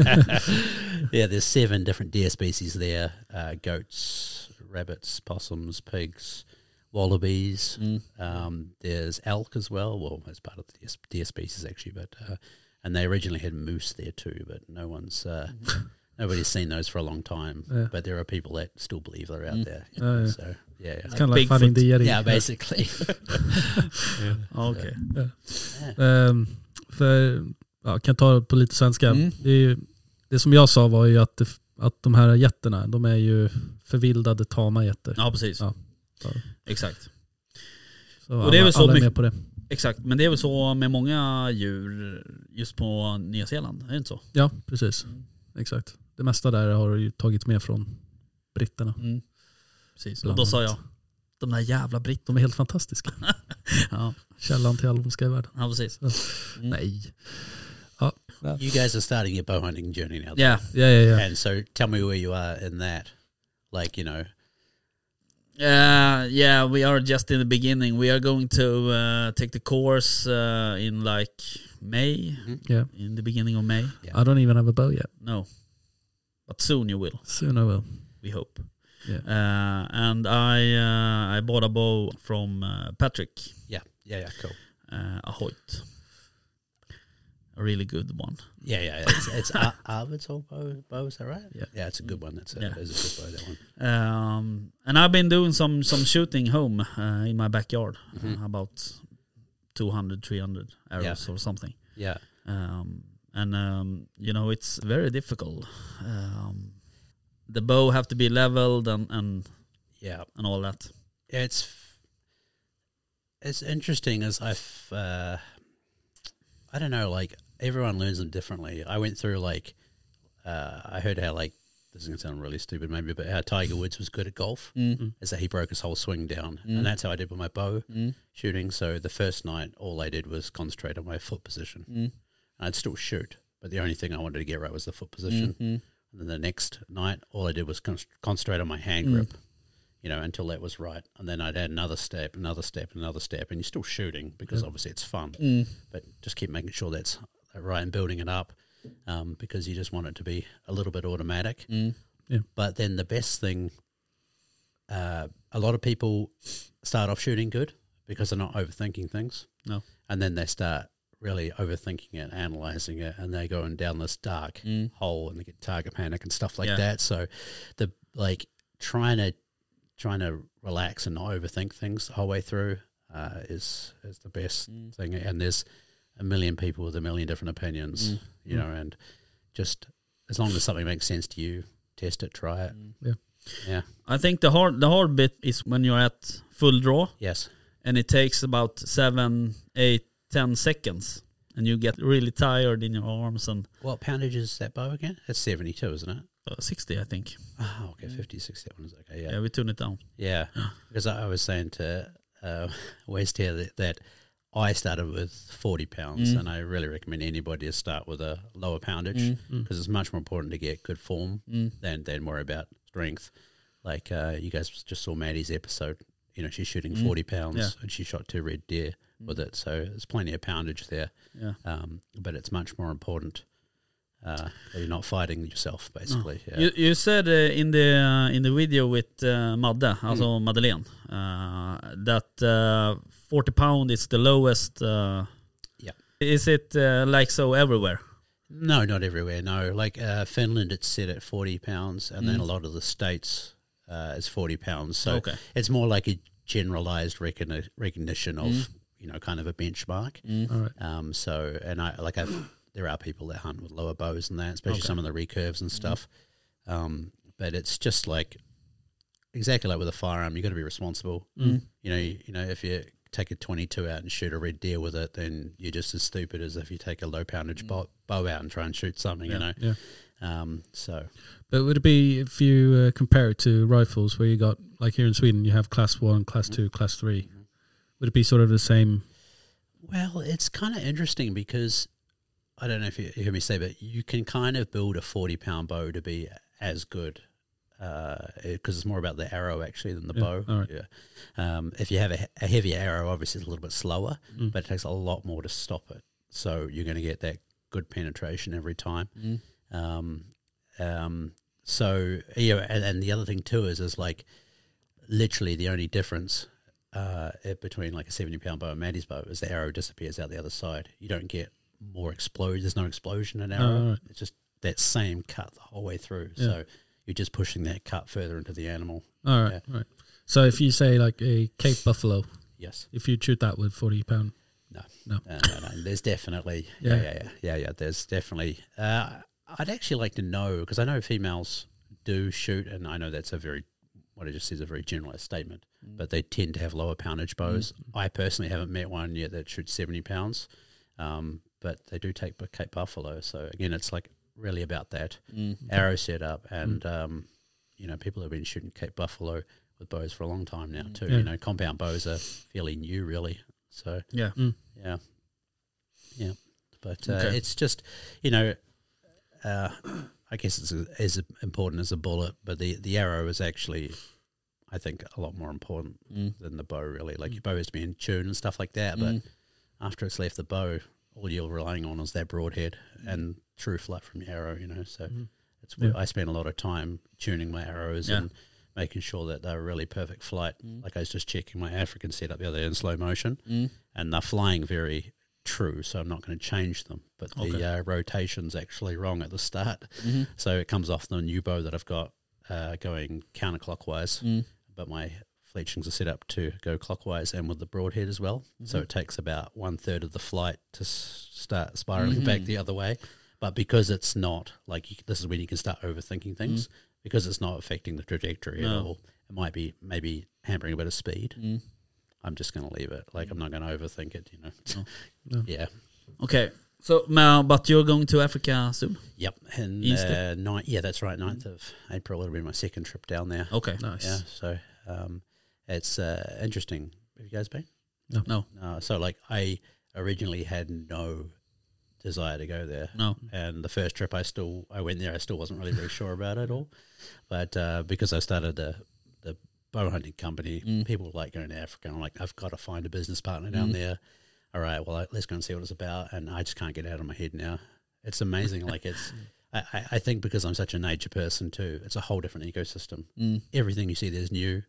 S5: yeah, there's seven different deer species there: uh, goats, rabbits, possums, pigs, wallabies.
S3: Mm.
S5: Um, there's elk as well. Well, it's part of the deer, deer species actually, but uh, and they originally had moose there too, but no one's uh, nobody's seen those for a long time.
S4: Mm-hmm. Yeah.
S5: But there are people that still believe they're out there. you
S4: Oh,
S5: know,
S4: yeah.
S5: So yeah, yeah.
S4: It's kind of like
S3: Bigfoot.
S4: finding the Yeti.
S5: yeah, basically.
S3: Okay.
S4: Ehm, för, ja, kan ta det på lite svenska.
S3: Mm.
S4: Det, är ju, det som jag sa var ju att, det, att de här getterna, de är ju förvildade tama getter.
S3: Ja, precis.
S4: Ja. Ja.
S3: Exakt.
S4: Så
S3: Och det är
S4: alla,
S3: väl så
S4: alla är
S3: mycket-
S4: med på det.
S3: Exakt, men det är väl så med många djur just på Nya Zeeland, är det inte så?
S4: Ja, precis. Exakt. Det mesta där har ju tagits med från britterna.
S5: Mm.
S3: Precis, och
S4: Bland
S3: då sa jag
S4: annat.
S3: de där jävla britterna.
S4: De är helt fantastiska.
S3: Ja,
S4: Källan till all ondska i världen.
S3: ja precis. Mm.
S4: Nej.
S5: you guys are starting your bow hunting journey now.
S3: Ja,
S4: Ja, ja, ja.
S5: And so, tell me where you are in that. Like you know,
S3: Uh, yeah, we are just in the beginning. We are going to uh, take the course uh, in like May,
S4: Yeah.
S3: in the beginning of May.
S4: I don't even have a bow yet.
S3: No, but soon you will.
S4: Soon I will.
S3: We hope.
S4: Yeah.
S3: Uh, and I uh, I bought a bow from uh, Patrick
S5: yeah, yeah, yeah, cool.
S3: uh, Ahoyt. A really good one.
S5: Yeah, yeah, it's, it's Ar- Arvid's old bow, bow, is that right?
S4: Yeah.
S5: yeah, it's a good one. That's a,
S3: Yeah.
S5: it's a good bow. That one.
S3: Um, and I've been doing some some shooting home uh, in my backyard, uh, about 200, 300 arrows or something.
S5: Yeah,
S3: Um, and um, you know it's very difficult. Um, the bow have to be leveled and and,
S5: yeah,
S3: and all that.
S5: it's f- it's interesting as I've uh, I don't know, like everyone learns them differently. I went through like uh, I heard how like this is gonna sound really stupid maybe, but how Tiger Woods was good at golf is that he broke his whole swing down, and that's how I did with my bow shooting. So the first night, all I did was concentrate on my foot position. I'd still shoot, but the only thing I wanted to get right was the foot position.
S3: Mm-hmm.
S5: And then the next night, all I did was con- concentrate on my hand grip, you know, until that was right. And then I'd add another step, another step, another step, and you're still shooting because obviously it's fun. But just keep making sure that's right and building it up um, because you just want it to be a little bit automatic.
S4: Yeah.
S5: But then the best thing, uh, a lot of people start off shooting good because they're not overthinking things
S3: No.
S5: and then they start really overthinking it, analyzing it, and they go and down this dark hole and they get target panic and stuff like
S3: Yeah.
S5: that. So the like trying to trying to relax and not overthink things the whole way through uh, is is the best thing. And there's a million people with a million different opinions, you know, and just as long as something makes sense to you, test it, try it.
S4: Yeah.
S5: Yeah.
S3: I think the hard the hard bit is when you're at full draw
S5: Yes.
S3: and it takes about seven, eight, ten seconds, and you get really tired in your arms and
S5: What poundage is that bow again? It's 72, isn't it?
S3: uh, sixty, I think.
S5: Oh, okay. 50, 60, that one is okay.
S3: Yeah, we tune it down.
S5: Yeah, because I I was saying to uh, West here that, that I started with 40 pounds, and I really recommend anybody to start with a lower
S3: Mm.
S5: poundage because it's much more important to get good form than, than worry about strength. Like uh, you guys just saw Maddie's episode, you know, she's shooting 40 pounds
S3: Yeah.
S5: and she shot two red deer with it, so there's plenty of poundage there.
S3: Yeah.
S5: Um, but it's much more important uh, that you're not fighting yourself, basically. Yeah.
S3: You, you said uh, in the uh, in the video with uh, Madde, alltså
S5: Mm.
S3: Madeleine, uh, that uh, 40 pound is the lowest. Uh,
S5: Yeah.
S3: Is it uh, like so everywhere?
S5: No, not everywhere. No, like uh, Finland, it's set at forty pounds, and then a lot of the states uh, is 40 pounds. So
S3: Okay.
S5: it's more like a generalized recogni- recognition of, you know, kind of a benchmark.
S4: All right.
S5: Um, so, and I like I've there are people that hunt with lower bows and that, especially
S3: Okay.
S5: some of the recurves and stuff. Um, but it's just like exactly like with a firearm, you got to be responsible. Mm. You know, you, you know if you take a twenty-two out and shoot a red deer with it, then you're just as stupid as if you take a low poundage bo bow out and try and shoot something. You know,
S4: Yeah.
S5: um, so
S4: But would it be if you uh, compare it to rifles, where you got like here in Sweden, you have class one, class two, class three?
S5: Mm-hmm.
S4: Would it be sort of the same?
S5: Well, it's kind of interesting because I don't know if you hear me say, but you can kind of build a forty-pound bow to be as good because it's more about the arrow actually than the
S4: Yeah,
S5: bow.
S4: all right.
S5: Yeah. Um, if you have a, he- a heavier arrow, obviously it's a little bit slower,
S4: Mm.
S5: but it takes a lot more to stop it. So you're going to get that good penetration every time. Um, um, so yeah, and, and the other thing too is is like literally the only difference uh, it- between like a seventy pound bow and Maddie's bow is the arrow disappears out the other side. You don't get more explosion. There's no explosion in arrow.
S4: all right.
S5: It's just that same cut the whole way through. So you're just pushing that cut further into the animal.
S4: All right, all right. So if you say like a Cape Buffalo,
S5: Yes.
S4: if you shoot that with forty pound,
S5: No.
S4: No.
S5: No. no, no. There's definitely. Yeah.
S4: Yeah.
S5: Yeah. Yeah. Yeah. yeah. There's definitely. Uh, I'd actually like to know because I know females do shoot, and I know that's a very what I just said is a very generalized statement, but they tend to have lower poundage bows. I personally haven't met one yet that shoots seventy pounds, um, but they do take bu- Cape Buffalo. So again, it's like really about that arrow setup, and um, you know, people have been shooting Cape Buffalo with bows for a long time now too.
S4: Yeah.
S5: You know, compound bows are fairly new, really. So
S3: Yeah.
S5: yeah. Yeah. But uh,
S3: Okay.
S5: it's just, you know, uh, I guess it's a- as important as a bullet, but the, the arrow is actually, I think, a lot more important
S3: Mm.
S5: than the bow, really. Like your bow has to be in tune and stuff like that, but after it's left the bow, all you're relying on is that broadhead and true flight from your arrow, you know. So it's where I spent a lot of time tuning my arrows
S3: Yeah.
S5: and making sure that they're really perfect flight. Like I was just checking my African setup the other day in slow motion, and they're flying very true, so I'm not going to change them. But the uh, rotation's actually wrong at the start, so it comes off the new bow that I've got uh, going counterclockwise, but my fletchings are set up to go clockwise and with the broadhead as well. So it takes about one third of the flight to s- start spiraling back the other way. But because it's not like you, this is when you can start overthinking things because it's not affecting the trajectory at all. It might be maybe hampering a bit of speed. I'm just going to leave it. Like I'm not going to overthink it. You know. yeah.
S3: Okay. So now, but you're going to Africa soon.
S5: Yep. And
S3: Easter?
S5: uh, nine, yeah, that's right. 9th of April. It'll be my second trip down there.
S3: Okay.
S4: nice.
S5: Yeah. So um, it's uh, interesting. Have you guys been?
S3: No.
S5: No, so like I originally had no desire to go there.
S3: No.
S5: And the first trip I still I went there I still wasn't really very sure about it all. But uh, because I started the the bow hunting company, people like going to Africa. I'm like I've got to find a business partner down there. All right, well let's go and see what it's about and I just can't get it out of my head now. It's amazing like it's I, I- I think because I'm such a nature person too, it's a whole different ecosystem. Everything you see there's new.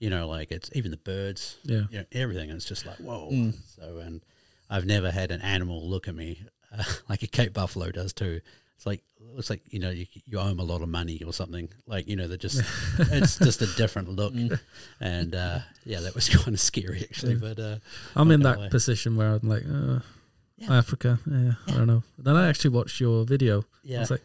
S5: You know, like it's even the birds
S4: yeah,
S5: you know, everything. It's just like, whoa. So, and I've never had an animal look at me uh, like a Cape Buffalo does too. It's like, looks like, you know, you, you owe 'em a lot of money or something. Like, you know, they're just, it's just a different look. And uh, yeah, that was kind of scary actually. But uh,
S4: I'm in
S5: no
S4: that
S5: way.
S4: position where I'm like, uh, Africa, yeah, I don't know. Then I actually watched your video. I
S5: yeah,
S4: was like,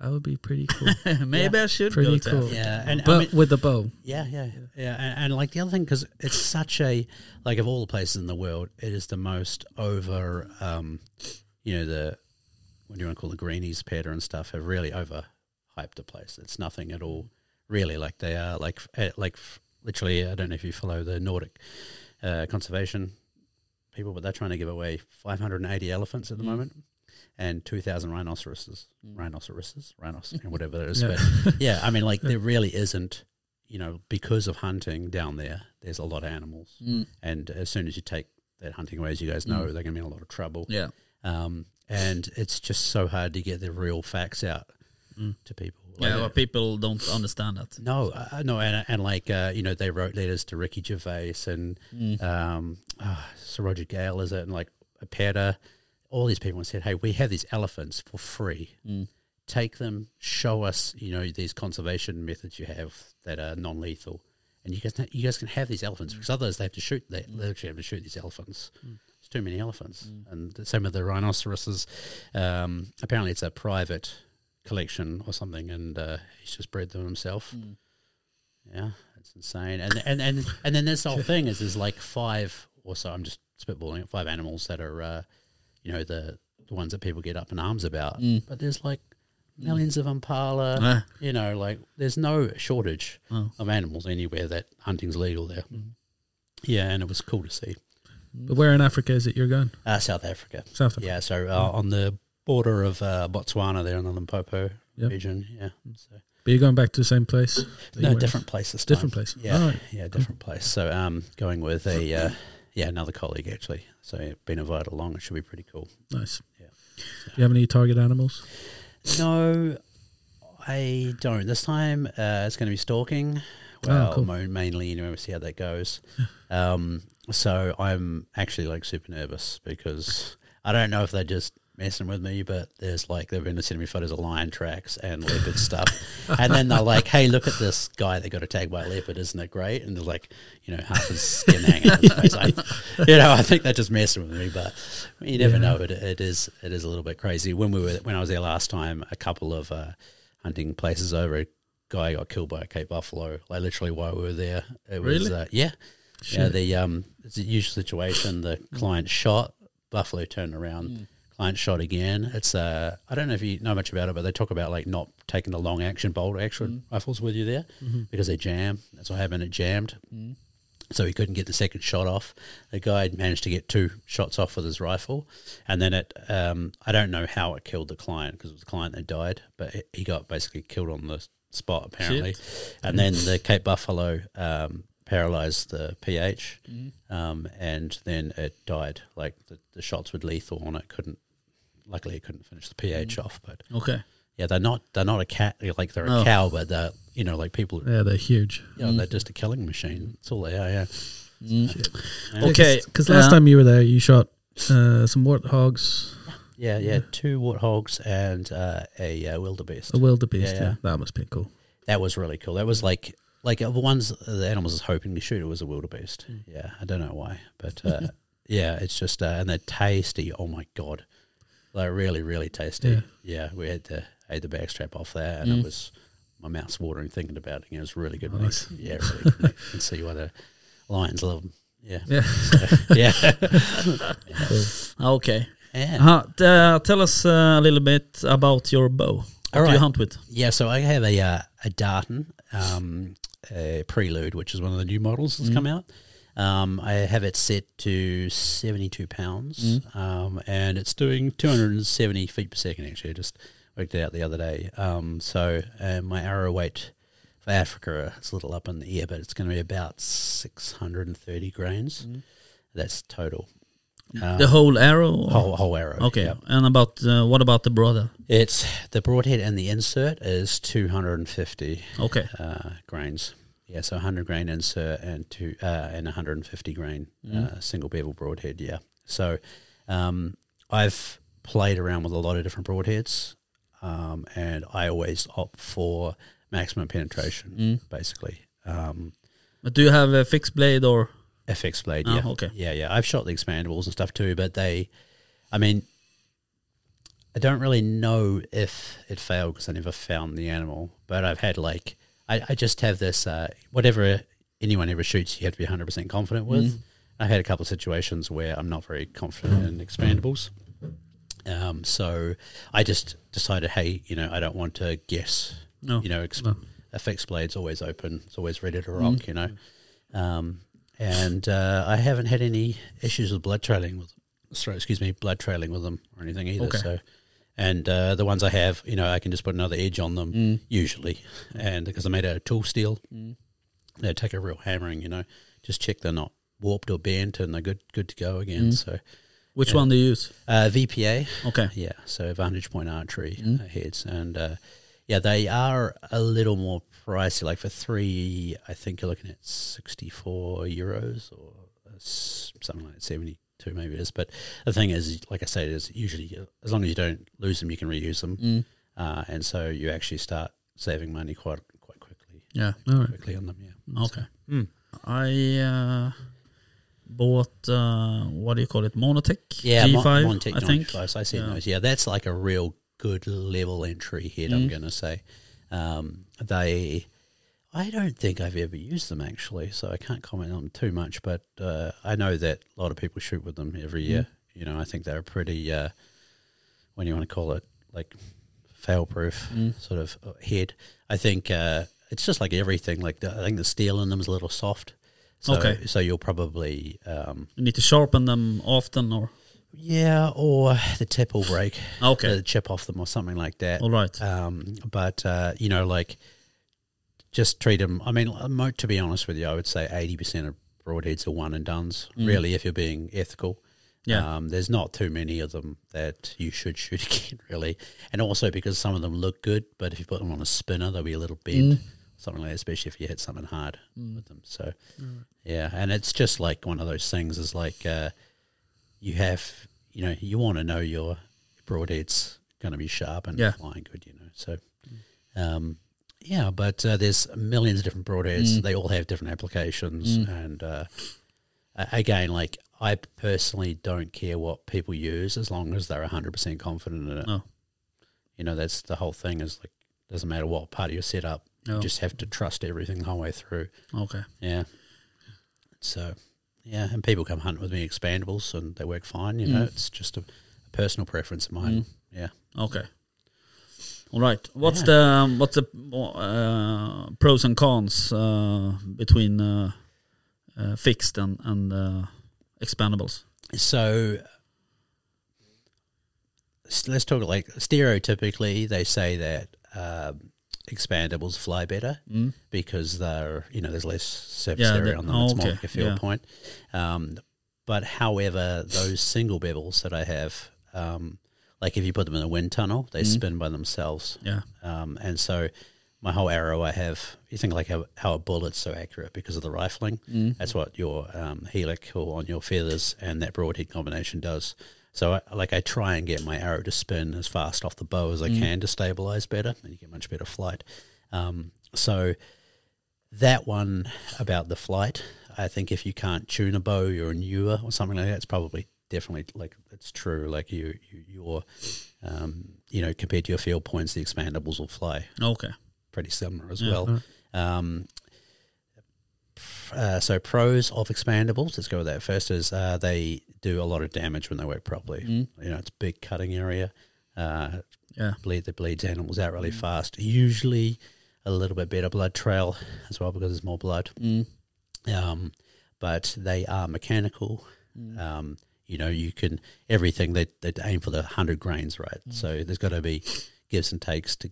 S4: that would be pretty cool.
S3: Maybe I should go
S4: Pretty
S3: to
S4: cool.
S3: Africa.
S5: yeah. And I
S4: but
S5: mean,
S4: with the bow,
S5: Yeah, yeah, yeah. And, and like the other thing, because it's such a like of all the places in the world, it is the most over. Um, you know the what do you want to call the greenies pet and stuff have really over hyped the place. It's nothing at all, really. Like they are like eh, like f- literally. I don't know if you follow the Nordic uh, conservation people, but they're trying to give away 580 elephants at the moment and 2,000 rhinoceroses, rhinoceroses, rhinos, and whatever it is.
S4: Yeah.
S5: But yeah, I mean, like there really isn't, you know, because of hunting down there, there's a lot of animals. And as soon as you take that hunting away, as you guys know, they're going to be in a lot of trouble.
S3: Mm. Yeah.
S5: Um, and it's just so hard to get the real facts out to people.
S3: Mm. Yeah,
S5: Like,
S3: but people don't understand that.
S5: no, uh, no, and, and like uh, you know, they wrote letters to Ricky Gervais and um, ah, Sir Roger Gale, is it, and like Peta, all these people and said, "Hey, we have these elephants for free. take them, show us, you know, these conservation methods you have that are non-lethal, and you guys, you guys can have these elephants because otherwise they have to shoot. They literally have to shoot these elephants. It's too many elephants, and the same with the rhinoceroses. Um, apparently, it's a private collection or something, and uh, he's just bred them himself. Yeah, it's insane. And and and and then this whole thing is there's like five or so. I'm just spitballing it. Five animals that are, uh, you know, the the ones that people get up in arms about. But there's like millions of impala.
S3: Ah.
S5: You know, like there's no shortage
S4: Oh.
S5: of animals anywhere that hunting's legal there. Yeah, and it was cool to see.
S4: But where in Africa is it you're going?
S5: Uh, South Africa.
S4: South Africa.
S5: Yeah, so uh, on the border of uh, Botswana there in the Limpopo
S4: Yep.
S5: region. Yeah. So
S4: But you're going back to the same place? that you
S5: no,
S4: went?
S5: different place this time.
S4: Different place.
S5: Yeah,
S4: Alright.
S5: yeah, different place. So, um, going with a uh, yeah another colleague actually. So been invited along. It should be pretty cool.
S4: Nice.
S5: Yeah.
S4: Do you have any target animals?
S5: No, I don't. This time uh, it's going to be stalking. Well,
S4: cool.
S5: mo- mainly, you know, we'll see how that goes. Um, so I'm actually like super nervous because I don't know if they're just messing with me, but there's like they've been sending me photos of lion tracks and leopard stuff, and then they're like, "Hey, look at this guy that got attacked by a leopard, isn't it great?" And they're like, you know, half his skin hanging. out his face. I, you know, I think they're just messing with me, but you never know. It, it is it is a little bit crazy. When we were when I was there last time, a couple of uh, hunting places over. Guy got killed by a Cape buffalo. Like literally, while we were there, it was
S4: Really?
S5: uh, yeah, yeah, the um, it's a usual situation. The client shot, Buffalo turned around, client shot again. It's uh, I don't know if you know much about it, but they talk about like not taking the long action bolt action rifles with you there because they jam. That's what happened. It jammed, so he couldn't get the second shot off. The guy had managed to get two shots off with his rifle, and then it. Um, I don't know how it killed the client because it was the client that died, but it, he got basically killed on the spot apparently. And then the Cape Buffalo um, paralyzed the PH, um, and then it died. Like the, the shots were lethal on it. Couldn't. Luckily, it couldn't finish the PH off, but
S3: Okay.
S5: yeah, they're not they're not a cat like they're a
S3: Oh.
S5: cow, but they're you know like people
S4: Yeah, they're huge.
S5: you know, they're just a killing machine. That's all they are. Yeah, Mm.
S3: Okay.
S4: Because last
S3: uh,
S4: time you were there, you shot uh, some warthogs,
S5: Yeah, yeah, two warthogs and uh, a uh, wildebeest.
S4: a wildebeest.
S5: Yeah,
S4: Yeah,
S5: yeah.
S4: that must be cool.
S5: That was really cool. That was like like of the ones the animals was hoping to shoot. It was a wildebeest.
S4: Hmm.
S5: Yeah, I don't know why, but uh, yeah, it's just uh, and they're tasty. Oh my god, they're really really tasty. Yeah,
S4: Yeah. Mm.
S5: we had the ate the backstrap off there, and it was my mouth's watering thinking about it. And it was really good. Nice.
S4: Nice.
S5: Yeah, really good meat. You can see why the lions love them. Yeah,
S4: Yeah.
S5: yeah,
S3: ah, Okay.
S5: yeah.
S3: Uh, t- uh, tell us uh, a little bit about your bow. What do
S5: Alright.
S3: you hunt with?
S5: Yeah, so I have a uh, a Darton um, a Prelude, which is one of the new models that's come
S3: Mm.
S5: out. Um, I have it set to seventy two pounds,
S3: Mm.
S5: um, and it's doing two hundred and seventy feet per second. Actually, I just worked it out the other day. Um, so uh, my arrow weight for Africa is a little up in the air, but it's going to be about six hundred and thirty grains. That's total
S3: Mm.
S5: Um,
S3: the whole arrow? or-
S5: whole whole arrow.
S3: okay.
S5: yeah.
S3: And about uh, what about the brother?
S5: it's the broadhead and the insert is two hundred and fifty.
S3: Okay.
S5: uh, grains. Yeah, so 100 grain insert and two uh, and 150 grain uh, single bevel broadhead. Yeah, so um, I've played around with a lot of different broadheads, um, and I always opt for maximum penetration, basically. Um,
S3: But do you have a fixed blade or?
S5: FX Blade.
S3: Oh,
S5: Yeah.
S3: okay.
S5: Yeah, yeah. I've shot the expandables and stuff too, but they, I mean, I don't really know if it failed because I never found the animal. But I've had like, I, I just have this uh, whatever anyone ever shoots, you have to be hundred percent confident
S3: Mm-hmm.
S5: with. I've had a couple of situations where I'm not very confident in expandables. Um, so I just decided, hey, you know, I don't want to guess.
S3: No. Mm.
S5: You know, ex- a fixed blade's always open. It's always ready to rock. You know, um, and uh, I haven't had any issues with blood trailing with, sorry, excuse me, blood trailing with them or anything either.
S3: Okay.
S5: So, and uh, the ones I have, you know, I can just put another edge on them
S3: Mm.
S5: usually, and because they're made out of tool steel, they take a real hammering. You know, just check they're not warped or bent, and they're good, good to go again.
S3: Mm.
S5: So,
S3: Which one do you use?
S5: uh, VPA,
S3: Okay.
S5: yeah, so vantage point archery
S4: Hmm.
S5: uh, heads, and uh, yeah, they are a little more pricey. Like for three, I think you're looking at sixty-four euros or uh, s- something like seventy-two,
S4: Hmm.
S5: maybe it is. But the thing is, like I said, is usually uh, as long as you don't lose them, you can reuse them. uh, and so you actually start saving money quite quite quickly
S3: Yeah.
S4: All right.
S5: quickly on them. Yeah.
S3: Okay.
S5: Hmm.
S3: I uh, bought uh, what do you call it? Monotech.
S5: Yeah, Mon-
S3: G5.
S5: Montec
S3: I think.
S5: 95s, I seen
S3: Yeah.
S5: those. Yeah, that's like a real good level entry hit.
S3: Mm.
S5: I'm going to say um, they. I don't think I've ever used them actually, so I can't comment on them too much. But uh, I know that a lot of people shoot with them every year.
S3: Mm.
S5: You know, I think they're pretty. Uh, when you want to call it like fail proof
S3: Mm.
S5: sort of uh, head. I think uh, it's just like everything. Like the, I think the steel in them is a little soft. So,
S3: Okay.
S5: So you'll probably um,
S3: You need to sharpen them often, or
S5: yeah, or the tip will break.
S3: Okay.
S5: The chip off them or something like that.
S3: all right.
S5: Um, but, uh, you know, like, just treat them. I mean, mo- to be honest with you, I would say 80% of broadheads are one and done's, really, if you're being ethical.
S3: Yeah.
S5: Um, there's not too many of them that you should shoot again, really. And also because some of them look good, but if you put them on a spinner, they'll be a little
S3: Mm.
S5: bent, something like that, especially if you hit something hard with them. So, yeah. And it's just like one of those things is like, uh, you have, you know, you want to know your broadhead's going to be sharp and
S3: Yeah.
S5: flying good, you know. So, um, yeah, but uh, there's millions of different
S3: Mm.
S5: broadheads. They all have different applications, and uh, a- again, like I personally don't care what people use as long as they're 100 percent confident in it.
S3: Oh.
S5: You know, that's the whole thing. Is like doesn't matter what part of your setup,
S3: Oh.
S5: you just have to trust everything the whole way through.
S3: okay.
S5: Yeah. So, yeah, and people come hunt with me expandables, and they work fine. You
S3: Mm.
S5: know, it's just a, a personal preference of mine. Yeah.
S3: Okay. Mm. All right. What's
S5: Yeah.
S3: the um, what's the uh, pros and cons uh, between uh, uh, fixed and and uh, expandables?
S5: so s- let's talk like stereotypically they say that um, expandables fly better because they're you know there's less surface
S3: Mm. Yeah,
S5: area
S3: the-
S5: on them
S3: oh,
S5: it's more
S3: okay,
S5: like a field
S3: yeah.
S5: point um, but however those single bevels that i have um, like if you put them in a wind tunnel they
S3: Mm.
S5: spin by themselves
S3: Yeah.
S5: um, and so my whole arrow I have, you think like how, how a bullet's so accurate because of the rifling. That's what your um, helic or on your feathers and that broadhead combination does. So I, like I try and get my arrow to spin as fast off the bow as I can to stabilize better and you get much better flight. Um, so that one about the flight, I think if you can't tune a bow, you're a newer or something like that. It's probably definitely like it's true. Like you, you you're, um, you know, compared to your field points, the expandables will fly
S3: Okay.
S5: pretty similar as well. Um, uh, so pros of expandables. Let's go with that first. Is uh, they do a lot of damage when they work properly. You know, it's big cutting area. Uh,
S3: Yeah.
S5: bleed that bleeds animals out really fast. Usually, a little bit better blood trail as well because there's more blood. Um, but they are mechanical. Um, you know, you can everything they they aim for the hundred grains, right? So there's got to be gives and takes to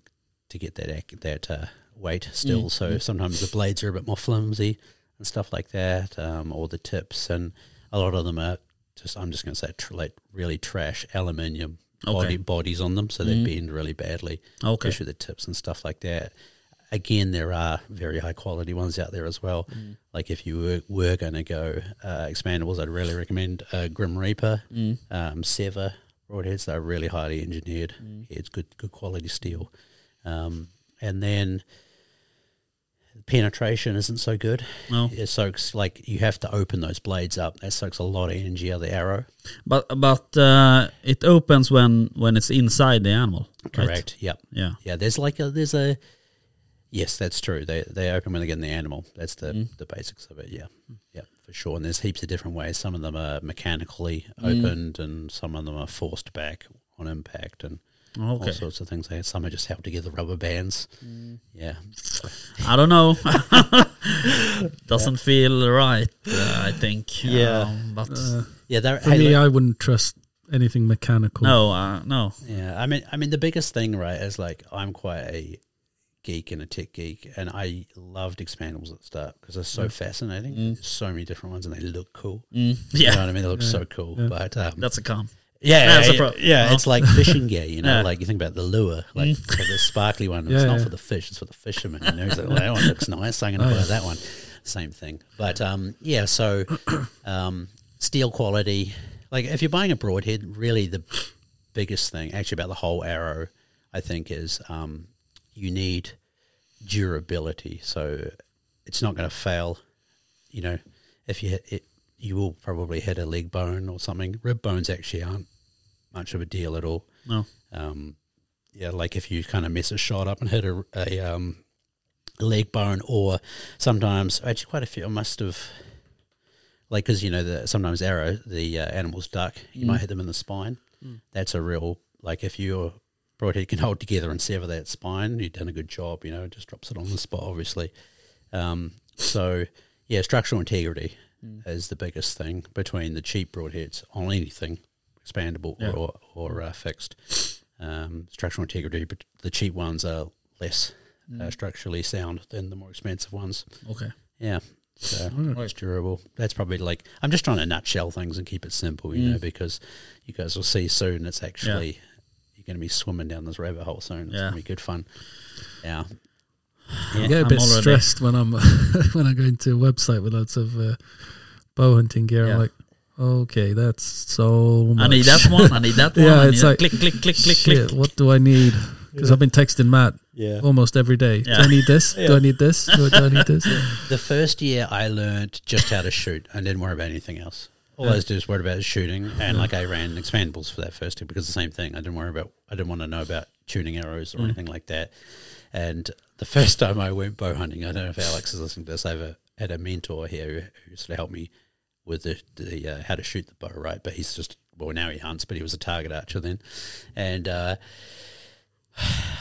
S5: to get that ac- that uh, weight still. So sometimes the blades are a bit more flimsy and stuff like that, um, or the tips, and a lot of them are just I'm just going to say tr- like really trash aluminium body,
S3: Okay.
S5: bodies on them, so they bend really badly,
S3: Okay.
S5: especially the tips and stuff like that. Again, there are very high quality ones out there as well.
S3: Mm.
S5: Like if you were, were going to go uh, expandables, I'd really recommend uh, Grim Reaper,
S3: Mm.
S5: um, Sever broadheads. They're really highly engineered.
S3: Mm.
S5: It's good good quality steel. Um, and then penetration isn't so good.
S3: No.
S5: It soaks like you have to open those blades up. That soaks a lot of energy out of the arrow.
S3: But but uh, it opens when when it's inside the animal. right?
S5: Correct. Yep.
S3: Yeah.
S5: Yeah. There's like a there's a yes, that's true. They they open when they get in the animal. That's the
S4: Mm.
S5: the basics of it. Yeah. Yeah, for sure. And there's heaps of different ways. Some of them are mechanically
S4: Mm.
S5: opened, and some of them are forced back on impact, and all
S3: Okay.
S5: sorts of things. Like that. Some are just held together rubber bands.
S4: Mm.
S5: Yeah.
S3: I don't know. Doesn't feel right. Uh, I think.
S5: Yeah.
S3: Um, but
S5: Yeah. They're,
S4: For
S5: hey,
S4: me,
S5: look-
S4: I wouldn't trust anything mechanical.
S3: no, uh, no.
S5: Yeah, I mean, I mean, the biggest thing, right, is like I'm quite a geek and a tech geek, and I loved expandables at the start because they're
S3: Mm.
S5: so fascinating. So many different ones, and they look cool. You know
S3: Yeah.
S5: what I mean? They look so cool. But um,
S3: That's a calm.
S5: yeah,
S3: that's a
S5: yeah,
S3: pro-
S5: yeah,
S3: no.
S5: it's like fishing gear. You know,
S3: Yeah.
S5: like you think about the lure, like so the sparkly one. It's
S4: Mm. Yeah,
S5: not
S4: yeah. Oh,
S5: for the fish; it's for the fishermen. You know, He's like, well, that one looks nice. I'm going to buy that one. Same thing. But um, yeah, so um, steel quality. Like if you're buying a broadhead, really the biggest thing, actually about the whole arrow, I think, is um, you need durability. So it's not going to fail. You know, if you hit it, you will probably hit a leg bone or something. Rib bones actually aren't much of a deal at all.
S3: No.
S5: Um, yeah, like if you kind of mess a shot up and hit a, a um, leg bone, or sometimes actually quite a few. I must have like because you know the, sometimes arrow the uh, animals duck you might hit them in the spine that's a real like if your broadhead can hold together and sever that spine you've done a good job you know it just drops it on the spot obviously um, so yeah structural integrity is the biggest thing between the cheap broadheads on anything expandable
S3: Yeah.
S5: or, or uh, fixed um, structural integrity but the cheap ones are less uh,
S3: Mm.
S5: structurally sound than the more expensive ones
S3: Okej.
S5: yeah. So
S3: Mm.
S5: it's durable. That's probably like I'm just trying to nutshell things and keep it simple,
S3: Mm.
S5: you know, because you guys will see soon it's actually you're gonna be swimming down this rabbit hole soon. It's
S3: Yeah.
S5: gonna be good fun. Yeah.
S4: I get a
S3: I'm
S4: bit
S3: already-
S4: stressed when I'm when I go into a website with lots of uh, bow hunting gear.
S3: Yeah.
S4: I'm like, okay, that's so much.
S3: I need that one, I need that one.
S4: Yeah,
S3: I need
S4: it's
S3: that.
S4: like-
S3: click, click, click, click,
S4: Shit,
S3: click.
S4: what do I need? Because I've been texting Matt
S5: Yeah.
S4: almost every day.
S3: Yeah.
S4: Do I need this? Do I need this? Do I, do I need this?
S5: The first year I learned just how to shoot. I didn't worry about anything else. All I was just worried about is shooting and like I ran expandables for that first year because the same thing. I didn't worry about I didn't want to know about tuning arrows or anything like that. And the first time I went bow hunting, I don't know if Alex is listening to this, I have a, had a mentor here who, who sort of helped me with the, the uh, how to shoot the bow, right? But he's just, well, now he hunts, but he was a target archer then. And uh,